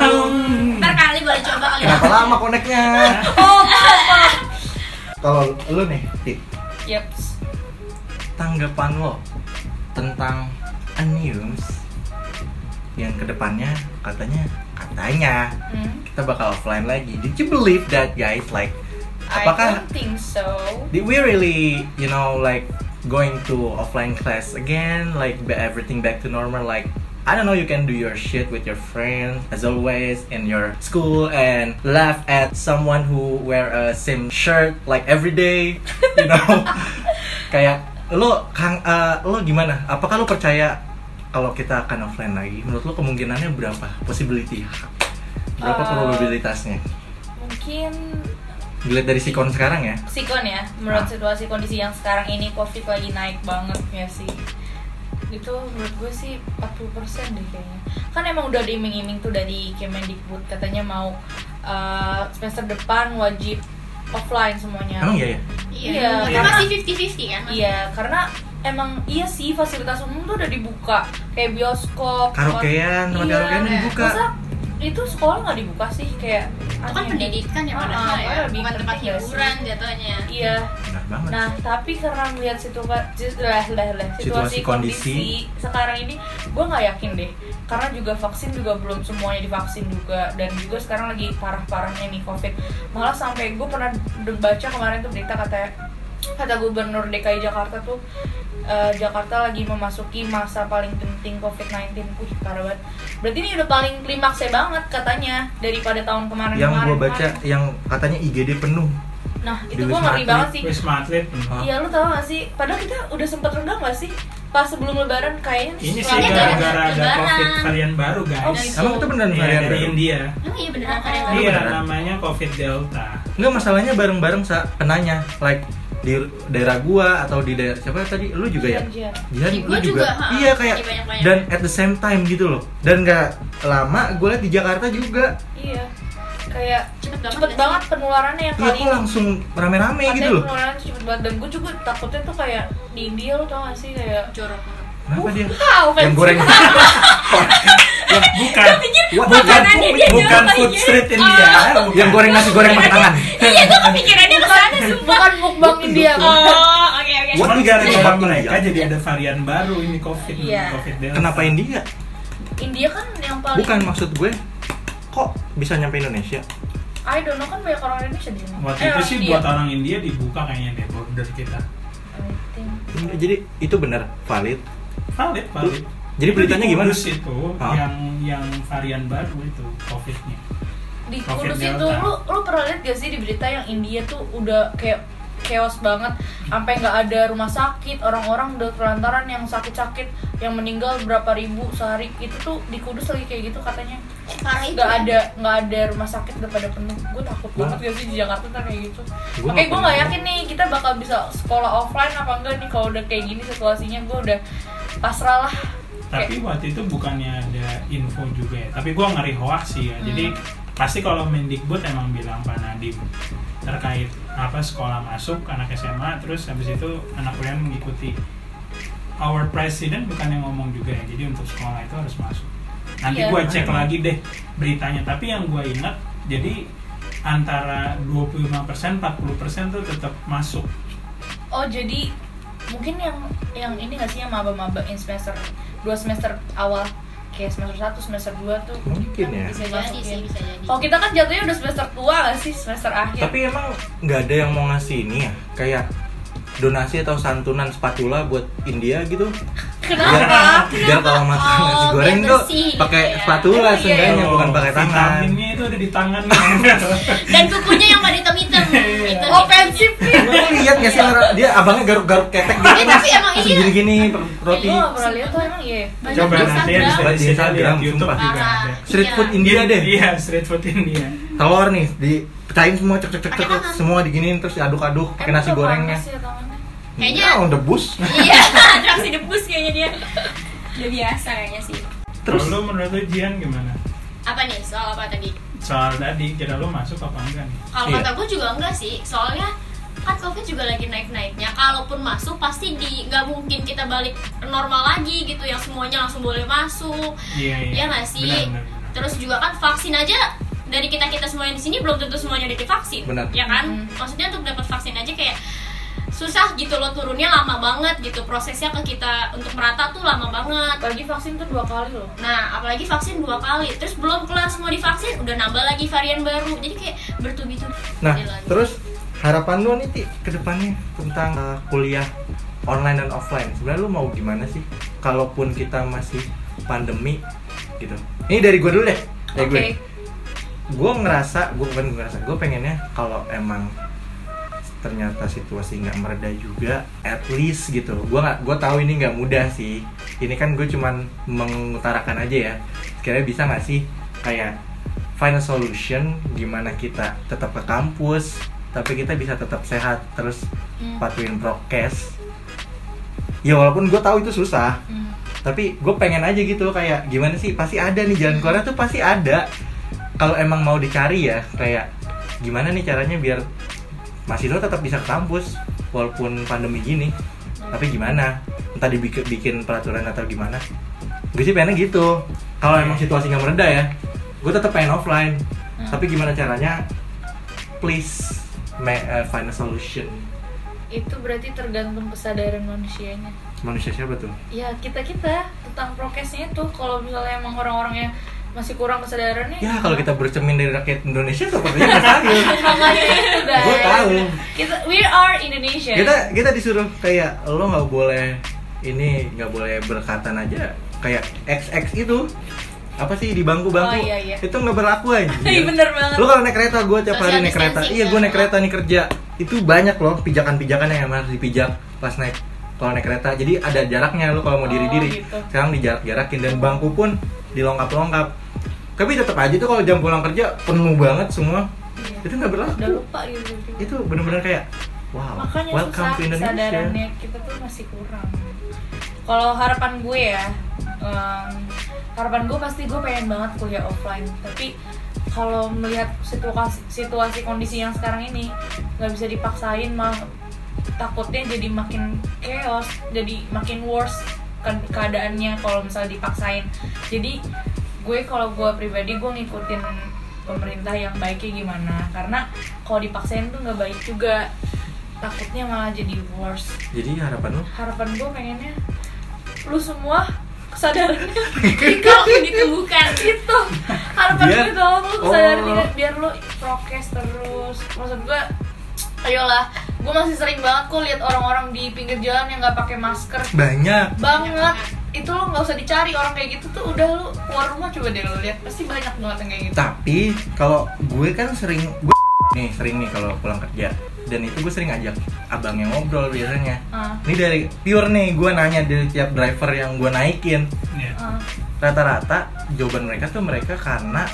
[SPEAKER 4] Hmm.
[SPEAKER 3] Ntar kali boleh coba
[SPEAKER 4] Iya,
[SPEAKER 3] kali.
[SPEAKER 1] Kenapa lama koneknya?
[SPEAKER 4] [laughs] oh apa
[SPEAKER 1] Kalau lu nih, Ti,
[SPEAKER 4] Yeps
[SPEAKER 1] tanggapan lo tentang Aniums yang kedepannya katanya katanya
[SPEAKER 4] hmm.
[SPEAKER 1] kita bakal offline lagi. Did you believe that guys? Like,
[SPEAKER 4] I
[SPEAKER 1] apakah
[SPEAKER 4] don't think so
[SPEAKER 1] did we really, you know, like going to offline class again? Like ba- everything back to normal? Like I don't know. You can do your shit with your friends as always in your school and laugh at someone who wear a same shirt like every day. You know, kayak lo kang eh, lo gimana? Apakah lo percaya kalau kita akan offline lagi? Menurut lo kemungkinannya berapa? Possibility? Berapa
[SPEAKER 4] Eh,
[SPEAKER 1] probabilitasnya?
[SPEAKER 4] mungkin
[SPEAKER 1] Dilihat dari sikon sekarang ya.
[SPEAKER 4] sikon ya
[SPEAKER 1] Ah.
[SPEAKER 4] menurut situasi kondisi yang sekarang ini covid lagi naik banget ya sih itu menurut gue sih 40% deh kayaknya kan emang udah diiming-iming tuh dari Kemendikbud katanya mau uh, semester depan wajib offline semuanya
[SPEAKER 1] Emang iya ya?
[SPEAKER 4] Iya.
[SPEAKER 3] Iya. Tapi masih 50-50 kan.
[SPEAKER 4] iya karena emang iya sih fasilitas umum tuh udah dibuka kayak bioskop
[SPEAKER 1] Karaokean, tempat
[SPEAKER 4] Iya.
[SPEAKER 1] karaokean
[SPEAKER 3] iya.
[SPEAKER 1] dibuka.
[SPEAKER 4] Masa itu sekolah nggak dibuka sih kayak
[SPEAKER 3] Itu kan
[SPEAKER 4] aneh.
[SPEAKER 3] pendidikan ya
[SPEAKER 4] Ah,
[SPEAKER 3] padahal ya.
[SPEAKER 4] lebih
[SPEAKER 3] Bukan tempat
[SPEAKER 4] penting ya sih.
[SPEAKER 3] hiburan jatuhnya.
[SPEAKER 4] iya
[SPEAKER 1] Benar banget.
[SPEAKER 4] Nah, tapi karena melihat situasi
[SPEAKER 1] Situasi,
[SPEAKER 4] situasi
[SPEAKER 1] kondisi.
[SPEAKER 4] kondisi sekarang ini, gue nggak yakin deh. Karena juga vaksin juga belum semuanya divaksin juga dan juga sekarang lagi parah-parahnya nih covid. Malah sampai gue pernah de- baca kemarin tuh berita kata kata gubernur DKI Jakarta tuh eh, Jakarta lagi memasuki masa paling penting COVID-19 Wih, parah banget Berarti ini udah paling klimaksnya banget katanya Daripada tahun kemarin-kemarin
[SPEAKER 1] yang gue baca yang katanya IGD penuh.
[SPEAKER 4] Nah,
[SPEAKER 1] di
[SPEAKER 4] itu gue
[SPEAKER 1] Wisma
[SPEAKER 4] ngeri
[SPEAKER 1] Atlet.
[SPEAKER 4] banget sih
[SPEAKER 2] Wisma Atlet. hmm.
[SPEAKER 1] Hah?
[SPEAKER 4] Iya lu tau gak sih? Padahal kita udah sempet rendah gak sih? Pas sebelum lebaran kayaknya
[SPEAKER 2] Ini sih
[SPEAKER 4] setelahnya
[SPEAKER 3] gara-
[SPEAKER 4] nggak
[SPEAKER 2] gara-gara ada
[SPEAKER 3] Lebaran.
[SPEAKER 2] COVID varian baru
[SPEAKER 4] Oh,
[SPEAKER 2] guys.
[SPEAKER 1] Emang itu beneran
[SPEAKER 2] Iya,
[SPEAKER 1] varian
[SPEAKER 2] dari
[SPEAKER 1] baru?
[SPEAKER 2] India.
[SPEAKER 3] Emang iya beneran kan yang
[SPEAKER 4] Iya.
[SPEAKER 3] baru?
[SPEAKER 2] Iya,
[SPEAKER 1] beneran.
[SPEAKER 2] namanya COVID
[SPEAKER 1] [laughs]
[SPEAKER 2] Delta.
[SPEAKER 1] Enggak masalahnya bareng-bareng sa penanya like di daerah gua atau di daerah siapa tadi lu juga ya?
[SPEAKER 4] Janjian.
[SPEAKER 1] Jihan,
[SPEAKER 3] Iya, Di
[SPEAKER 1] lu
[SPEAKER 3] gua juga, ha.
[SPEAKER 1] iya kayak
[SPEAKER 3] Di banyak-banyak.
[SPEAKER 1] dan at the same time gitu loh dan nggak lama gue liat di Jakarta juga
[SPEAKER 4] Iya kayak
[SPEAKER 3] Cepet banget
[SPEAKER 4] cepet
[SPEAKER 3] gak sih?
[SPEAKER 4] banget penularannya yang
[SPEAKER 1] Iya
[SPEAKER 4] kali
[SPEAKER 1] kok langsung rame-rame
[SPEAKER 4] katanya
[SPEAKER 1] gitu loh
[SPEAKER 4] penularan tuh cepet banget dan gue juga takutnya tuh kayak di India lo tau gak sih kayak [laughs]
[SPEAKER 3] jorok banget.
[SPEAKER 1] Kenapa
[SPEAKER 3] [laughs]
[SPEAKER 1] dia?
[SPEAKER 4] wow
[SPEAKER 1] Yang goreng Eh,
[SPEAKER 2] bukan
[SPEAKER 4] Iya,
[SPEAKER 1] Wah,
[SPEAKER 2] bukan
[SPEAKER 3] makanannya dia
[SPEAKER 2] bukan
[SPEAKER 3] jorok
[SPEAKER 2] food
[SPEAKER 3] aja.
[SPEAKER 2] street
[SPEAKER 1] Ah.
[SPEAKER 2] India Iya, bukan.
[SPEAKER 1] Yang goreng nasi goreng pakai tangan
[SPEAKER 3] Iya, gue kepikirannya kesana sumpah.
[SPEAKER 4] bukan mukbang India bukan
[SPEAKER 3] Oh, oke oke.
[SPEAKER 1] What?
[SPEAKER 2] Cuman gara-gara
[SPEAKER 1] Iya.
[SPEAKER 2] mereka jadi ada varian baru ini covid
[SPEAKER 4] Iya.
[SPEAKER 2] covid delta.
[SPEAKER 1] Kenapa India?
[SPEAKER 4] India kan yang paling
[SPEAKER 1] Bukan maksud gue Kok bisa nyampe Indonesia?
[SPEAKER 4] I don't know kan banyak orang Indonesia di sini
[SPEAKER 2] Waktu
[SPEAKER 4] Eh,
[SPEAKER 2] itu
[SPEAKER 4] orang
[SPEAKER 2] sih
[SPEAKER 4] India.
[SPEAKER 2] buat orang India dibuka kayaknya deh border kita.
[SPEAKER 4] I think.
[SPEAKER 1] Enggak, jadi itu benar valid
[SPEAKER 2] Valid, valid.
[SPEAKER 1] Jadi
[SPEAKER 2] Itu
[SPEAKER 1] beritanya
[SPEAKER 2] di
[SPEAKER 1] gimana?
[SPEAKER 2] Kudus itu
[SPEAKER 1] Hah?
[SPEAKER 2] yang yang varian baru itu covidnya.
[SPEAKER 4] di
[SPEAKER 2] Covid
[SPEAKER 4] Kudus
[SPEAKER 2] Delta.
[SPEAKER 4] itu lu lu pernah lihat gak sih di berita yang India tuh udah kayak chaos banget sampai nggak ada rumah sakit orang-orang udah kelantaran yang sakit-sakit yang meninggal berapa ribu sehari itu tuh di Kudus lagi kayak gitu katanya
[SPEAKER 3] Parah itu.
[SPEAKER 4] nggak ada nggak ada rumah sakit udah pada penuh gue takut banget
[SPEAKER 1] Wah.
[SPEAKER 4] gak sih di Jakarta ntar kayak gitu
[SPEAKER 1] Gua
[SPEAKER 4] oke
[SPEAKER 1] nggak
[SPEAKER 4] gue nggak
[SPEAKER 1] pernah.
[SPEAKER 4] yakin nih kita bakal bisa sekolah offline apa enggak nih kalau udah kayak gini situasinya gue udah pasrah lah
[SPEAKER 2] Tapi waktu itu bukannya ada info juga ya. Tapi gua ngeri hoax sih ya. Jadi pasti kalau Mendikbud emang bilang Pak Nadiem terkait apa sekolah masuk anak SMA terus habis itu anak kuliah mengikuti our president bukan yang ngomong juga ya jadi untuk sekolah itu harus masuk nanti
[SPEAKER 4] Iya.
[SPEAKER 2] gua cek lagi deh beritanya tapi yang gua ingat jadi antara 25% 40% tuh tetap masuk
[SPEAKER 4] Oh jadi mungkin yang yang ini nggak sih yang maba-maba in semester dua semester awal kayak semester satu semester dua tuh kan
[SPEAKER 1] Mungkin ya.
[SPEAKER 4] bisa
[SPEAKER 3] Bisa jadi sih,
[SPEAKER 4] masukin.
[SPEAKER 3] bisa jadi.
[SPEAKER 4] Kalau kita kan jatuhnya udah semester tua nggak sih semester
[SPEAKER 3] Iya.
[SPEAKER 4] akhir.
[SPEAKER 1] Tapi emang nggak ada yang mau ngasih ini ya? Kayak donasi atau santunan spatula buat India gitu?
[SPEAKER 4] Kenapa?
[SPEAKER 1] Biar, biar kalau masak
[SPEAKER 3] Oh,
[SPEAKER 1] nasi
[SPEAKER 3] biar
[SPEAKER 1] goreng tuh
[SPEAKER 3] bersih gitu
[SPEAKER 1] pakai
[SPEAKER 3] ya.
[SPEAKER 1] spatula
[SPEAKER 4] Iya,
[SPEAKER 1] seenggaknya
[SPEAKER 2] Kalau
[SPEAKER 1] bukan pakai tangan.
[SPEAKER 2] vitaminnya itu ada di tangan
[SPEAKER 1] [laughs]
[SPEAKER 2] [laughs]
[SPEAKER 3] Dan kukunya yang pada
[SPEAKER 4] [laughs]
[SPEAKER 3] hitam-hitam. Hitam-hitam.
[SPEAKER 4] Ofensif nih.
[SPEAKER 1] Lu lihat nggak sih Lara? dia abangnya garuk-garuk ketek gitu.
[SPEAKER 3] Eh, tapi
[SPEAKER 1] Terus
[SPEAKER 3] emang iya. Oh,
[SPEAKER 1] gini-gini roti.
[SPEAKER 4] Gue nggak pernah lihat tuh emang iya.
[SPEAKER 3] Banyak
[SPEAKER 2] coba
[SPEAKER 3] di
[SPEAKER 2] nanti ya
[SPEAKER 3] Instagram.
[SPEAKER 1] Buat
[SPEAKER 2] di
[SPEAKER 1] Instagram,
[SPEAKER 2] Instagram YouTube
[SPEAKER 1] sumpah.
[SPEAKER 2] juga
[SPEAKER 3] Parah.
[SPEAKER 2] ada
[SPEAKER 1] Street food
[SPEAKER 3] Iya.
[SPEAKER 1] India deh.
[SPEAKER 2] iya street food India
[SPEAKER 1] Telur nih dipecahin semua cek cek cek
[SPEAKER 3] Pakai
[SPEAKER 1] cek
[SPEAKER 3] tangan.
[SPEAKER 1] semua diginiin terus diaduk-aduk pakai
[SPEAKER 4] Emang
[SPEAKER 1] nasi
[SPEAKER 4] tuh
[SPEAKER 1] gorengnya.
[SPEAKER 4] panas ya tangannya?
[SPEAKER 3] Kayaknya-
[SPEAKER 1] Iya, on debus.
[SPEAKER 3] Iya, atraksi debus kayaknya dia. Udah biasa kayaknya sih.
[SPEAKER 1] Terus
[SPEAKER 2] terus lu menurut lu Jian gimana
[SPEAKER 3] Apa nih soal apa tadi?
[SPEAKER 2] soal tadi kira lu masuk apa enggak nih
[SPEAKER 3] Kalau
[SPEAKER 1] Iya.
[SPEAKER 3] kata gue juga enggak sih, soalnya kan covid juga lagi naik-naiknya. Kalaupun masuk pasti di nggak mungkin kita balik normal lagi gitu yang semuanya langsung boleh masuk.
[SPEAKER 2] iya iya
[SPEAKER 3] Iya nggak sih?
[SPEAKER 2] Benar, benar, benar.
[SPEAKER 3] Terus juga kan vaksin aja dari kita kita semuanya di sini belum tentu semuanya udah divaksin,
[SPEAKER 1] Benar.
[SPEAKER 3] ya kan?
[SPEAKER 4] Mhm.
[SPEAKER 3] Maksudnya untuk dapat vaksin aja kayak susah gitu loh turunnya lama banget gitu prosesnya ke kita untuk merata tuh lama banget.
[SPEAKER 4] Apalagi vaksin tuh dua kali loh.
[SPEAKER 3] Nah, apalagi vaksin dua kali, terus belum kelar semua divaksin, udah nambah lagi varian baru, jadi kayak bertubi-tubi.
[SPEAKER 1] Nah,
[SPEAKER 3] Jadi lagi.
[SPEAKER 1] terus harapan lu nih Ti, ke depannya tentang uh, kuliah online dan offline. Sebenarnya lu mau gimana sih? Kalaupun kita masih pandemi gitu. Ini dari gue dulu deh. Dari gue. Gue ngerasa, gue bukan gue ngerasa, gue pengennya kalau emang ternyata situasi nggak mereda juga, at least gitu. Gue nggak, gue tahu ini nggak mudah sih. Ini kan gue cuman mengutarakan aja ya. Sekiranya bisa nggak sih kayak find a solution gimana kita tetap ke kampus tapi kita bisa tetap sehat terus
[SPEAKER 4] Hmm.
[SPEAKER 1] patuhin prokes ya walaupun gue tahu itu susah
[SPEAKER 4] Hmm.
[SPEAKER 1] tapi gue pengen aja gitu kayak gimana sih pasti ada nih jalan keluarnya tuh pasti ada kalau emang mau dicari ya kayak gimana nih caranya biar masih lo tetap bisa ke kampus walaupun pandemi gini tapi gimana entah dibikin bikin peraturan atau gimana gue sih pengennya gitu kalau emang situasi nggak mereda ya gue tetap pengen offline
[SPEAKER 4] Hmm.
[SPEAKER 1] tapi gimana caranya please ma- eh, find a solution
[SPEAKER 4] Itu berarti tergantung kesadaran manusianya.
[SPEAKER 1] manusia siapa tuh
[SPEAKER 4] ya kita kita tentang prokesnya itu kalau misalnya emang orang-orang yang masih kurang kesadarannya
[SPEAKER 1] ya kalau kita bercermin dari rakyat Indonesia sepertinya mustahil
[SPEAKER 4] makanya itu guys
[SPEAKER 1] Gua tahu.
[SPEAKER 4] kita we are Indonesia
[SPEAKER 1] kita kita disuruh kayak lo nggak boleh ini nggak boleh berkatan aja kayak XX itu apa sih di bangku-bangku
[SPEAKER 4] Oh, iya, iya.
[SPEAKER 1] itu nggak berlaku aja
[SPEAKER 4] Iya, bener banget.
[SPEAKER 1] lo kalau naik kereta gue tiap
[SPEAKER 3] Social
[SPEAKER 1] hari naik kereta
[SPEAKER 3] distancing,
[SPEAKER 1] iya gue naik
[SPEAKER 3] kan?
[SPEAKER 1] kereta nih kerja itu banyak loh pijakan-pijakan yang emang harus dipijak pas naik kalau naik kereta jadi ada jaraknya lo kalau mau
[SPEAKER 4] Oh,
[SPEAKER 1] diri-diri
[SPEAKER 4] gitu.
[SPEAKER 1] sekarang dijarak-jarakin dan bangku pun dilongkap-longkap tapi tetap aja tuh kalau jam pulang kerja penuh banget semua
[SPEAKER 4] Iya.
[SPEAKER 1] itu nggak berlaku
[SPEAKER 4] udah lupa gitu
[SPEAKER 1] itu bener-bener kayak wow
[SPEAKER 4] makanya
[SPEAKER 1] welcome
[SPEAKER 4] susah
[SPEAKER 1] to Indonesia
[SPEAKER 4] kesadarannya kita tuh masih kurang kalau harapan gue ya em, harapan gue pasti gue pengen banget kuliah offline tapi kalau melihat situasi situasi kondisi yang sekarang ini nggak bisa dipaksain mah takutnya jadi makin chaos jadi makin worse ke- keadaannya kalau misalnya dipaksain jadi gue kalau gue pribadi gue ngikutin pemerintah yang baiknya gimana karena kalau dipaksain tuh nggak baik juga takutnya malah jadi worse
[SPEAKER 1] Jadi harapan lo
[SPEAKER 4] harapan gue pengennya lu semua kesadarannya
[SPEAKER 1] [laughs]
[SPEAKER 3] Kalau ditemukan
[SPEAKER 4] itu Gitu. harapan
[SPEAKER 1] Biar-
[SPEAKER 4] gue tau lu kesadaran
[SPEAKER 1] Iya. Oh.
[SPEAKER 4] diri, biar lu prokes terus maksud gue ayolah gue masih sering banget kok lihat orang-orang di pinggir jalan yang nggak pakai masker
[SPEAKER 1] [laughs] banyak.
[SPEAKER 4] banget itu lo nggak usah dicari orang kayak gitu tuh udah lu keluar rumah coba deh lo lihat pasti banyak banget yang kayak gitu
[SPEAKER 1] Tapi kalau gue kan sering gue [laughs] nih sering nih kalau pulang kerja dan itu gue sering ajak abangnya ngobrol biasanya.
[SPEAKER 4] Ah,
[SPEAKER 1] Ini dari pure nih gue nanya dari tiap driver yang gue naikin
[SPEAKER 2] Iya.
[SPEAKER 4] ah.
[SPEAKER 1] rata-rata jawaban mereka tuh mereka karena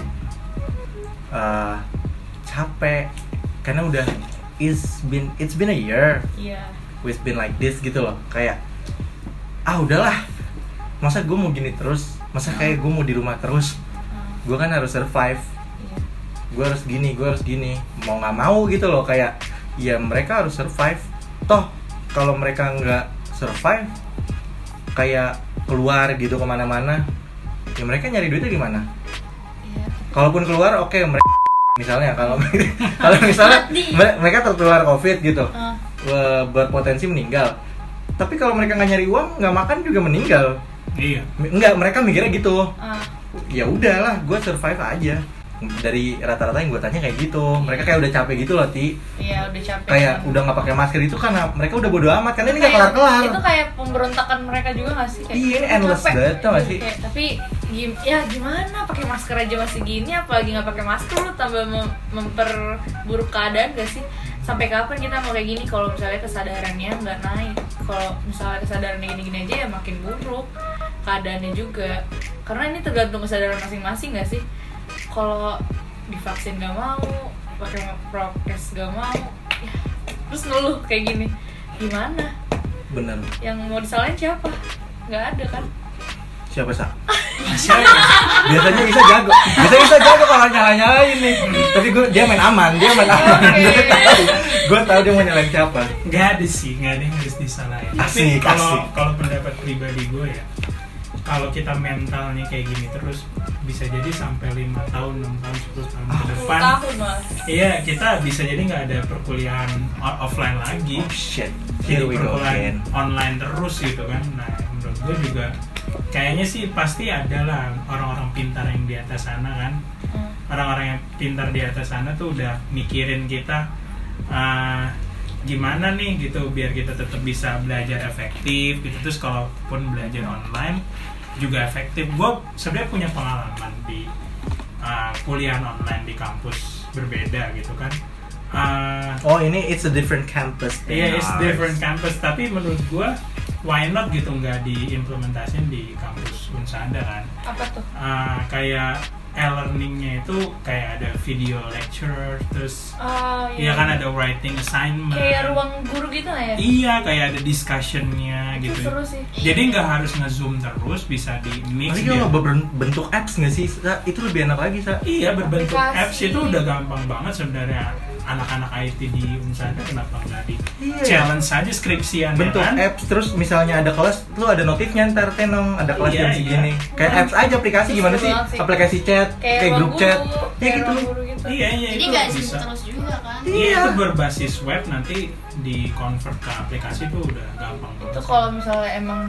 [SPEAKER 1] eh, capek karena udah it's been it's been a year
[SPEAKER 4] iya
[SPEAKER 1] we've been like this gitu loh kayak ah udahlah masa gue mau gini terus masa kayak gue mau di rumah terus
[SPEAKER 4] ah,
[SPEAKER 1] gue kan harus survive
[SPEAKER 4] iya
[SPEAKER 1] gue harus gini gue harus gini mau nggak mau gitu loh kayak ya mereka harus survive toh kalau mereka nggak survive kayak keluar gitu kemana-mana ya mereka nyari duitnya gimana
[SPEAKER 4] iya
[SPEAKER 1] kalaupun keluar oke mereka [laughs] misalnya kalau [laughs] kalau
[SPEAKER 4] [laughs]
[SPEAKER 1] misalnya mere- mereka tertular covid gitu
[SPEAKER 4] Ah,
[SPEAKER 1] eh, berpotensi meninggal tapi kalau mereka nggak nyari uang nggak makan juga meninggal
[SPEAKER 2] Iya.
[SPEAKER 1] Mi- nggak mereka mikirnya gitu
[SPEAKER 4] ah.
[SPEAKER 1] ya udahlah gue survive aja dari rata-rata yang gue tanya kayak gitu mereka kayak udah capek gitu loh ti
[SPEAKER 4] iya udah capek
[SPEAKER 1] kayak udah nggak pakai masker itu karena mereka udah bodo amat karena ini nggak
[SPEAKER 4] Kayak-
[SPEAKER 1] kelar-kelar
[SPEAKER 4] itu kan- kayak pemberontakan mereka juga gak sih kayak
[SPEAKER 1] Iya,
[SPEAKER 4] "Aduh,
[SPEAKER 1] endless
[SPEAKER 4] capek."
[SPEAKER 1] banget tau gak sih?
[SPEAKER 4] Kayak, tapi gim ya gimana pakai masker aja masih gini apalagi nggak pakai masker lu tambah mem- memperburuk keadaan gak sih sampai kapan kita mau kayak gini kalau misalnya kesadarannya nggak naik kalau misalnya kesadarannya gini-gini aja ya makin buruk keadaannya juga karena ini tergantung kesadaran masing-masing gak sih kalau divaksin gak mau pakai ma- prokes gak mau ya, terus ngeluh kayak gini gimana
[SPEAKER 1] bener
[SPEAKER 4] yang mau disalahin siapa nggak ada kan
[SPEAKER 1] siapa sa [laughs] biasanya bisa jago biasanya bisa jago kalau nyala-nyalain nih tapi gue dia main aman [laughs] dia main aman
[SPEAKER 4] Oke.
[SPEAKER 1] gue tahu dia mau nyalain siapa
[SPEAKER 2] Nggak ada sih, nggak ada yang harus disalahin.
[SPEAKER 1] Asik,
[SPEAKER 2] Tapi
[SPEAKER 1] asik.
[SPEAKER 2] kalau kalau pendapat pribadi gue ya, kalau kita mentalnya kayak gini terus bisa jadi sampai lima tahun, enam tahun, 10 tahun ke
[SPEAKER 4] 10
[SPEAKER 2] depan,
[SPEAKER 4] tahun mas
[SPEAKER 2] iya kita bisa jadi nggak ada perkuliahan o- offline lagi.
[SPEAKER 1] oh shit
[SPEAKER 2] jadi
[SPEAKER 1] here we go
[SPEAKER 2] perkuliahan
[SPEAKER 1] again
[SPEAKER 2] online terus gitu kan nah menurut gue juga kayaknya sih pasti ada lah orang-orang pintar yang di atas sana kan
[SPEAKER 4] Hmm.
[SPEAKER 2] orang-orang yang pintar di atas sana tuh udah mikirin kita ah, gimana nih gitu biar kita tetap bisa belajar efektif gitu terus kalaupun belajar online juga efektif gue sebenarnya punya pengalaman di ah, kuliah online di kampus berbeda gitu kan Ah,
[SPEAKER 1] oh ini it's a different campus than
[SPEAKER 2] Iya, it's
[SPEAKER 1] ours.
[SPEAKER 2] different campus. Tapi menurut gua, why not gitu nggak diimplementasiin di kampus Unsanda kan?
[SPEAKER 4] apa tuh
[SPEAKER 2] Ah, kayak e-learningnya itu kayak ada video lecture, terus
[SPEAKER 4] oh,
[SPEAKER 2] ya kan ada writing assignment.
[SPEAKER 4] kayak ruang guru gitu lah ya
[SPEAKER 2] Iya, kayak ada discussionnya
[SPEAKER 4] itu
[SPEAKER 2] gitu.
[SPEAKER 4] seru sih
[SPEAKER 2] Jadi nggak harus nge-zoom terus, bisa di mix. gitu.
[SPEAKER 1] tapi kalau berbentuk apps nggak sih Sa? itu lebih enak lagi sa
[SPEAKER 2] Iya berbentuk
[SPEAKER 4] Aplikasi.
[SPEAKER 2] apps itu udah gampang banget sebenarnya anak-anak IT di Unsanda kenapa nggak di
[SPEAKER 1] Iya.
[SPEAKER 2] challenge aja skripsian ya
[SPEAKER 1] bentuk
[SPEAKER 2] kan?
[SPEAKER 1] apps terus misalnya ada kelas lu ada notifnya ntar tenong ada kelas
[SPEAKER 2] Iya,
[SPEAKER 1] jam
[SPEAKER 2] iya.
[SPEAKER 1] segini kayak apps aja aplikasi
[SPEAKER 4] Terus
[SPEAKER 1] gimana
[SPEAKER 4] seru
[SPEAKER 1] sih
[SPEAKER 4] banget Iya, gitu sih.
[SPEAKER 1] aplikasi chat
[SPEAKER 4] kayak,
[SPEAKER 1] kayak
[SPEAKER 4] ruang
[SPEAKER 1] grup
[SPEAKER 4] guru
[SPEAKER 1] chat ya
[SPEAKER 4] kayak
[SPEAKER 1] gitu
[SPEAKER 4] ruang guru gitu
[SPEAKER 2] Iya, iya
[SPEAKER 3] jadi
[SPEAKER 2] itu
[SPEAKER 3] nggak
[SPEAKER 2] bisa.
[SPEAKER 3] sibuk terus juga kan
[SPEAKER 1] Iya.
[SPEAKER 2] Iya, itu berbasis web nanti di convert ke aplikasi itu udah gampang banget.
[SPEAKER 4] itu kalau misalnya emang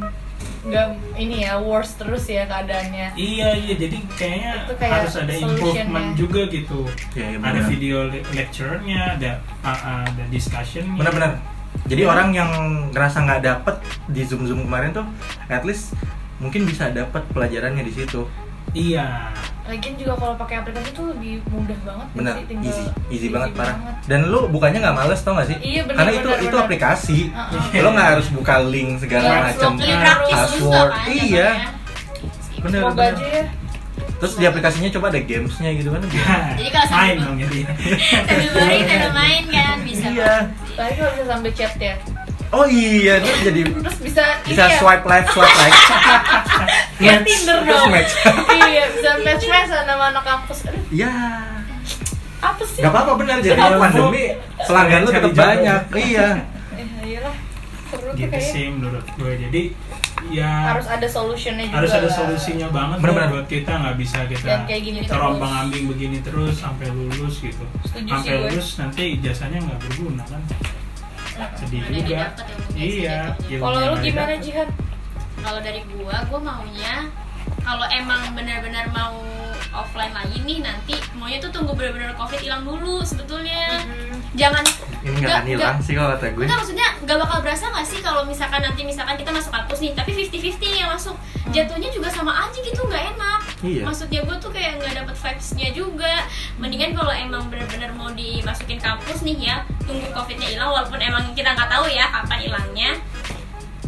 [SPEAKER 4] nggak ini ya worse terus ya keadaannya
[SPEAKER 2] Iya, iya. Jadi kayaknya
[SPEAKER 4] Itu kayak
[SPEAKER 2] harus ada
[SPEAKER 4] solution-nya.
[SPEAKER 2] improvement juga gitu.
[SPEAKER 1] Iya, iya,
[SPEAKER 2] ada
[SPEAKER 1] benar.
[SPEAKER 2] video le- lecture-nya, ada uh, ada discussion.
[SPEAKER 1] benar-benar
[SPEAKER 2] Iya.
[SPEAKER 1] jadi orang yang ngerasa nggak dapet di zoom zoom kemarin tuh at least mungkin bisa dapet pelajarannya di situ
[SPEAKER 2] Iya.
[SPEAKER 4] lagian juga kalau pakai aplikasi tuh lebih mudah banget ya
[SPEAKER 1] benar
[SPEAKER 4] sih,
[SPEAKER 1] easy
[SPEAKER 4] tinggal-
[SPEAKER 1] easy, banget parah dan lu bukannya nggak males tau gak sih
[SPEAKER 4] Iya, benar,
[SPEAKER 1] karena itu
[SPEAKER 4] benar,
[SPEAKER 1] itu
[SPEAKER 4] benar.
[SPEAKER 1] aplikasi
[SPEAKER 4] Heeh.
[SPEAKER 1] lo nggak harus buka link
[SPEAKER 4] Iya,
[SPEAKER 1] segala macam
[SPEAKER 3] Lebih praktis juga
[SPEAKER 1] password.
[SPEAKER 4] ya
[SPEAKER 3] kan
[SPEAKER 1] Iya.
[SPEAKER 3] jatuhnya.
[SPEAKER 1] bener
[SPEAKER 4] semoga
[SPEAKER 1] bener.
[SPEAKER 4] aja ya
[SPEAKER 1] terus di aplikasinya coba ada gamesnya gitu kan
[SPEAKER 2] Iya.
[SPEAKER 3] Jadi kalau
[SPEAKER 2] [laughs]
[SPEAKER 3] sambil-
[SPEAKER 2] main dong
[SPEAKER 4] [laughs]
[SPEAKER 2] jadi.
[SPEAKER 3] sambil main sambil main kan bisa
[SPEAKER 1] iya
[SPEAKER 4] lagi kalau bisa sambil chat ya
[SPEAKER 1] Oh iya, dia jadi
[SPEAKER 4] terus bisa
[SPEAKER 1] bisa
[SPEAKER 4] ini ya,
[SPEAKER 1] swipe left, swipe right.
[SPEAKER 4] Kayak
[SPEAKER 1] terus
[SPEAKER 4] Tinder dong. [laughs]
[SPEAKER 1] match.
[SPEAKER 4] iya bisa match match sama anak kampus Aduh,
[SPEAKER 1] Ya,
[SPEAKER 4] apa sih?
[SPEAKER 1] Gak apa-apa benar jadi
[SPEAKER 2] Iya, Bu.
[SPEAKER 1] pandemi pelanggan lu
[SPEAKER 2] Cari
[SPEAKER 1] tetap
[SPEAKER 2] jodoh.
[SPEAKER 1] banyak. Iya.
[SPEAKER 4] Eh, iyalah seru tuh
[SPEAKER 2] gitu
[SPEAKER 4] kayaknya.
[SPEAKER 2] sih menurut gue jadi ya
[SPEAKER 4] Harus ada solutionnya juga.
[SPEAKER 2] harus ada
[SPEAKER 4] lah.
[SPEAKER 2] solusinya banget
[SPEAKER 1] Benar-benar.
[SPEAKER 2] ya buat kita nggak bisa kita
[SPEAKER 4] Dan Iya. kayak gini terus.
[SPEAKER 2] terombang ambing begini terus sampai lulus gitu
[SPEAKER 4] Setuju sih
[SPEAKER 2] sampai
[SPEAKER 4] gue.
[SPEAKER 2] lulus nanti ijazahnya nggak berguna kan sedih
[SPEAKER 3] Mana
[SPEAKER 2] juga
[SPEAKER 3] didapat
[SPEAKER 4] ya,
[SPEAKER 3] ilmu kayak
[SPEAKER 2] iya
[SPEAKER 3] gitu.
[SPEAKER 2] ilmu
[SPEAKER 4] Kalau
[SPEAKER 2] yang
[SPEAKER 4] lu
[SPEAKER 2] nggak
[SPEAKER 4] gimana
[SPEAKER 2] didapat.
[SPEAKER 4] Jihan?
[SPEAKER 3] kalau dari gua gua maunya kalau emang benar-benar mau offline lagi nih nanti maunya tuh tunggu benar-benar covid hilang dulu sebetulnya
[SPEAKER 4] Mhm.
[SPEAKER 3] jangan
[SPEAKER 1] Ini
[SPEAKER 3] Nggak,
[SPEAKER 1] nggak akan hilang sih kalau kata gue.
[SPEAKER 3] enggak maksudnya nggak bakal berasa nggak sih kalau misalkan nanti misalkan kita masuk kampus nih tapi 50-50 yang masuk jatuhnya juga sama aja gitu nggak enak
[SPEAKER 1] Hmm. Iya.
[SPEAKER 3] maksudnya gue tuh kayak nggak dapet vibesnya juga mendingan kalau emang bener-bener mau dimasukin kampus nih ya tunggu covidnya hilang walaupun emang kita nggak tahu ya kapan hilangnya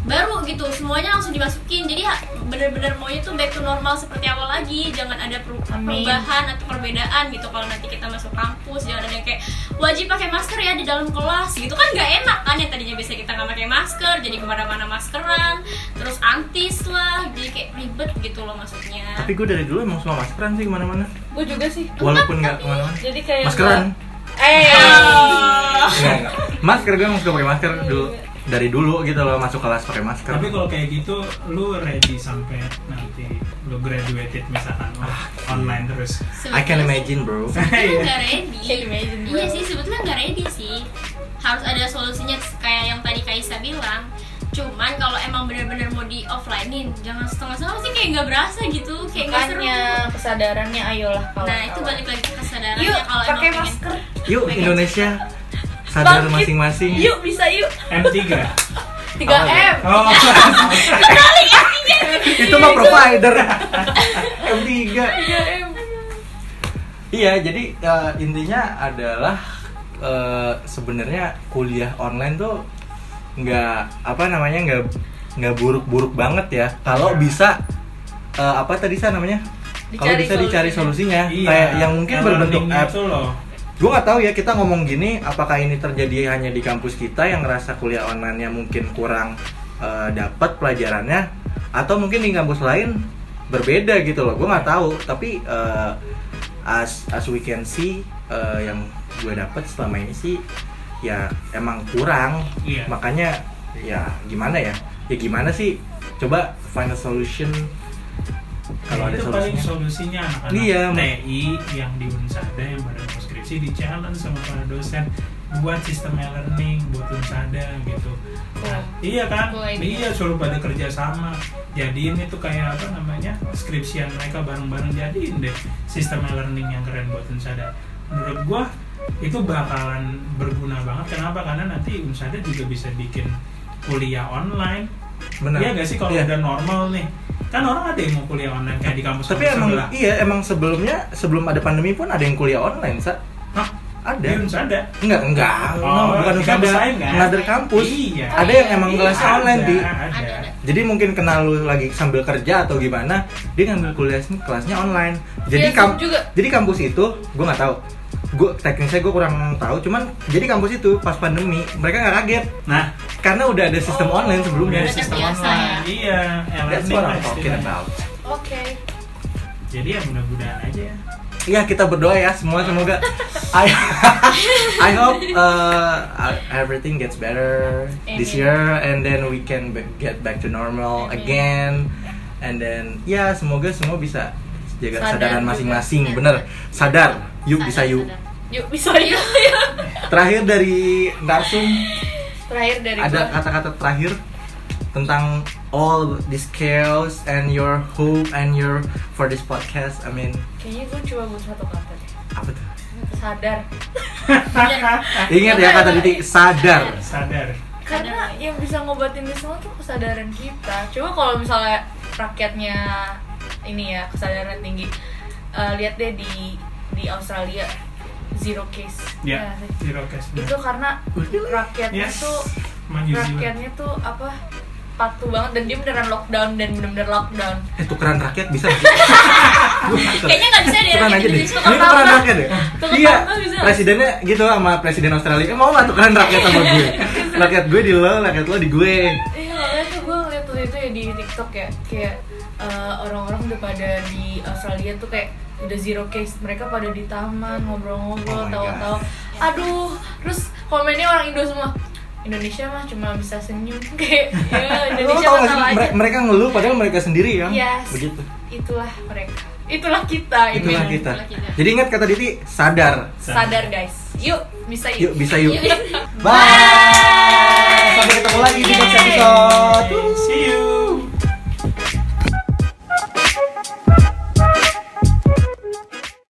[SPEAKER 3] baru gitu semuanya langsung dimasukin jadi ha- bener-bener maunya tuh back to normal seperti awal lagi jangan ada peru-
[SPEAKER 4] Amin.
[SPEAKER 3] perubahan atau perbedaan gitu kalau nanti kita masuk kampus jangan ada yang kayak wajib pakai masker ya di dalam kelas gitu kan nggak enak kan yang tadinya biasa kita nggak pakai masker jadi kemana-mana maskeran terus antis lah jadi kayak ribet gitu loh maksudnya
[SPEAKER 1] Tapi gue dari dulu emang suka maskeran sih kemana-mana.
[SPEAKER 4] Gue juga sih.
[SPEAKER 1] Walaupun nggak kemana-mana.
[SPEAKER 4] Jadi kayak [laughs]
[SPEAKER 1] Maskeran.
[SPEAKER 4] gua- Eh.
[SPEAKER 1] Nggak, nggak. Masker gue emang suka pakai masker dulu. Dari dulu gitu loh masuk kelas pakai masker.
[SPEAKER 2] tapi kalau kayak gitu lu ready sampai nanti lu graduated misalkan lu
[SPEAKER 1] Ah, iya.
[SPEAKER 2] online terus
[SPEAKER 1] I can imagine bro.
[SPEAKER 3] Sebetulnya
[SPEAKER 2] Iya.
[SPEAKER 1] [laughs]
[SPEAKER 3] nggak ready.
[SPEAKER 4] Can imagine, bro.
[SPEAKER 3] Iya sih sebetulnya nggak ready sih. Harus ada solusinya kayak yang tadi Kaisa bilang. Cuman kalau emang bener-bener mau di offlinein, jangan setengah-setengah pasti kayak nggak berasa gitu, kayak nggak seru.
[SPEAKER 4] Makanya kesadarannya ayolah kawan.
[SPEAKER 3] Nah itu balik lagi ke kesadaran
[SPEAKER 4] Yuk,
[SPEAKER 3] kalau emang
[SPEAKER 4] pakai
[SPEAKER 3] pengen-
[SPEAKER 4] masker.
[SPEAKER 1] Yuk Indonesia sadar
[SPEAKER 4] Bangkit.
[SPEAKER 1] masing-masing.
[SPEAKER 4] Yuk, bisa yuk.
[SPEAKER 2] M3
[SPEAKER 4] 3M.
[SPEAKER 2] oh
[SPEAKER 1] Itu mah provider. [laughs] M3.
[SPEAKER 4] 3M.
[SPEAKER 1] Iya, jadi eh, intinya adalah eh, sebenarnya kuliah online tuh nggak apa namanya nggak nggak buruk-buruk banget ya. Kalau bisa eh, apa tadi saya namanya? Kalau
[SPEAKER 4] Dicari
[SPEAKER 1] bisa dicari solusinya,
[SPEAKER 2] iya
[SPEAKER 1] Eh, kayak yang mungkin berbentuk
[SPEAKER 2] Learning
[SPEAKER 1] apps.
[SPEAKER 2] itu loh
[SPEAKER 1] Gue nggak tahu ya kita ngomong gini, apakah ini terjadi hanya di kampus kita yang ngerasa kuliah online-nya mungkin kurang eh, dapat pelajarannya, atau mungkin di kampus lain berbeda gitu loh. Gue nggak tahu, tapi eh, as as we can see eh, yang gue dapat selama ini sih ya emang kurang,
[SPEAKER 2] Iya.
[SPEAKER 1] makanya ya gimana ya, ya gimana sih? Coba find a solution kalau ada
[SPEAKER 2] Ya, itu paling
[SPEAKER 1] solusinya.
[SPEAKER 2] solusinya anak-anak
[SPEAKER 1] Iya, Mak.
[SPEAKER 2] TI yang di Unsada yang pada mau skripsi di challenge sama para dosen buat sistem e-learning buat Unsada gitu. Nah, iya kan?
[SPEAKER 4] Cool idea.
[SPEAKER 2] Iya suruh pada kerja sama. Jadiin itu kayak apa namanya? skripsian mereka bareng-bareng jadiin deh sistem e-learning yang keren buat Unsada. Menurut gua itu bakalan berguna banget kenapa? Karena nanti Unsada juga bisa bikin kuliah online
[SPEAKER 1] Benar.
[SPEAKER 2] Iya gak sih kalau
[SPEAKER 1] Iya.
[SPEAKER 2] udah normal nih? Kan orang ada yang mau kuliah online kayak di kampus
[SPEAKER 1] Tapi emang iya emang sebelumnya sebelum ada pandemi pun ada yang kuliah online, Sa.
[SPEAKER 2] Hah?
[SPEAKER 1] Ada.
[SPEAKER 2] Di Unsa ada.
[SPEAKER 1] Enggak, enggak.
[SPEAKER 2] Oh,
[SPEAKER 1] bukan
[SPEAKER 2] di
[SPEAKER 1] usaha
[SPEAKER 2] kampus
[SPEAKER 1] besar.
[SPEAKER 2] lain, kan?
[SPEAKER 1] Ngader kampus.
[SPEAKER 2] Iya.
[SPEAKER 1] Ada yang emang
[SPEAKER 2] Iya,
[SPEAKER 1] kelas online,
[SPEAKER 2] ada,
[SPEAKER 1] Di.
[SPEAKER 2] Ada.
[SPEAKER 3] Ada, ada.
[SPEAKER 1] Jadi mungkin kenal lu lagi sambil kerja atau gimana, dia ngambil kuliahnya kelasnya online. Jadi
[SPEAKER 4] Iya,
[SPEAKER 1] kamp-
[SPEAKER 4] juga.
[SPEAKER 1] jadi kampus itu gue nggak tahu. Gue teknisnya gue kurang tahu, cuman jadi kampus itu pas pandemi mereka nggak kaget
[SPEAKER 2] Nah,
[SPEAKER 1] karena udah ada sistem
[SPEAKER 4] Oh,
[SPEAKER 1] online
[SPEAKER 2] udah
[SPEAKER 1] sebelumnya.
[SPEAKER 2] ada
[SPEAKER 3] Udah
[SPEAKER 2] sistem
[SPEAKER 3] terbiasa,
[SPEAKER 2] online.
[SPEAKER 3] ya?
[SPEAKER 2] Iya,
[SPEAKER 1] That's
[SPEAKER 2] e-learning
[SPEAKER 1] what
[SPEAKER 2] lah
[SPEAKER 1] I'm talking
[SPEAKER 2] istilahnya.
[SPEAKER 1] about.
[SPEAKER 4] Oke.
[SPEAKER 2] Jadi ya mudah-mudahan aja ya.
[SPEAKER 1] Iya kita berdoa ya semua semoga I, [laughs] I hope uh, everything gets better this
[SPEAKER 4] Amin.
[SPEAKER 1] year and then we can be- get back to normal
[SPEAKER 4] Amin.
[SPEAKER 1] again and then ya semoga semua bisa jaga
[SPEAKER 4] Sadar
[SPEAKER 1] kesadaran
[SPEAKER 4] juga.
[SPEAKER 1] masing-masing bener sadar yuk bisa
[SPEAKER 3] Sadar,
[SPEAKER 1] yuk
[SPEAKER 3] sadar.
[SPEAKER 4] Yuk, bisa yuk.
[SPEAKER 1] terakhir dari Narsum
[SPEAKER 4] Terakhir dari
[SPEAKER 1] ada
[SPEAKER 4] gua.
[SPEAKER 1] kata-kata terakhir tentang all this chaos and your hope and your for this podcast I mean
[SPEAKER 4] Kayaknya gua cuma butuh satu kata deh.
[SPEAKER 1] apa tuh
[SPEAKER 4] Sadar. Eh,
[SPEAKER 1] ingat ya kata titik sadar
[SPEAKER 2] Sadar.
[SPEAKER 4] Karena yang bisa ngobatin ini semua tuh kesadaran kita. Coba kalau misalnya rakyatnya ini ya kesadaran tinggi. Eh, lihat deh di di Australia zero case.
[SPEAKER 2] Ya,
[SPEAKER 4] Ya,
[SPEAKER 2] zero cash.
[SPEAKER 4] itu karena rakyatnya
[SPEAKER 2] Yes.
[SPEAKER 4] tuh
[SPEAKER 2] Manusia.
[SPEAKER 4] rakyatnya tuh apa patuh banget dan dia beneran lockdown dan bener-bener lockdown
[SPEAKER 1] Eh tukeran rakyat bisa
[SPEAKER 4] [laughs]
[SPEAKER 1] nggak sih? Gua tukeran.
[SPEAKER 3] Kayaknya nggak bisa deh
[SPEAKER 1] tukeran
[SPEAKER 3] rakyat
[SPEAKER 1] aja deh. Ini
[SPEAKER 3] Indonesia tukar
[SPEAKER 1] tukeran
[SPEAKER 3] tambah.
[SPEAKER 1] rakyat ya?
[SPEAKER 4] Tukar
[SPEAKER 1] Iya.
[SPEAKER 4] tambah bisa.
[SPEAKER 1] Presidennya gitu sama presiden Australia. Eh, mau nggak tukeran rakyat sama gue? rakyat gue di lo, rakyat lo di gue.
[SPEAKER 4] iya makanya tuh gue ngeliat waktu itu ya di TikTok ya kayak eh, orang-orang udah pada di Australia tuh kayak udah zero case mereka pada di taman
[SPEAKER 1] Oh
[SPEAKER 4] ngobrol-ngobrol
[SPEAKER 1] my
[SPEAKER 4] tawa-tawa aduh terus komennya orang Indo semua Indonesia mah cuma bisa senyum [laughs] kayak ya
[SPEAKER 1] Lo
[SPEAKER 4] Indonesia
[SPEAKER 1] tau gak sih,
[SPEAKER 4] masalah aja
[SPEAKER 1] mere- mereka ngeluh padahal mereka sendiri yang
[SPEAKER 4] Yes.
[SPEAKER 1] begitu.
[SPEAKER 4] itulah mereka itulah kita
[SPEAKER 1] Itulah
[SPEAKER 4] Imin.
[SPEAKER 1] kita.
[SPEAKER 3] itulah kita.
[SPEAKER 1] Jadi ingat kata Diti, sadar.
[SPEAKER 4] sadar guys yuk bisa
[SPEAKER 1] Yuk bisa yuk.
[SPEAKER 3] Yuk.
[SPEAKER 1] Bye. Sampai ketemu lagi di next episode.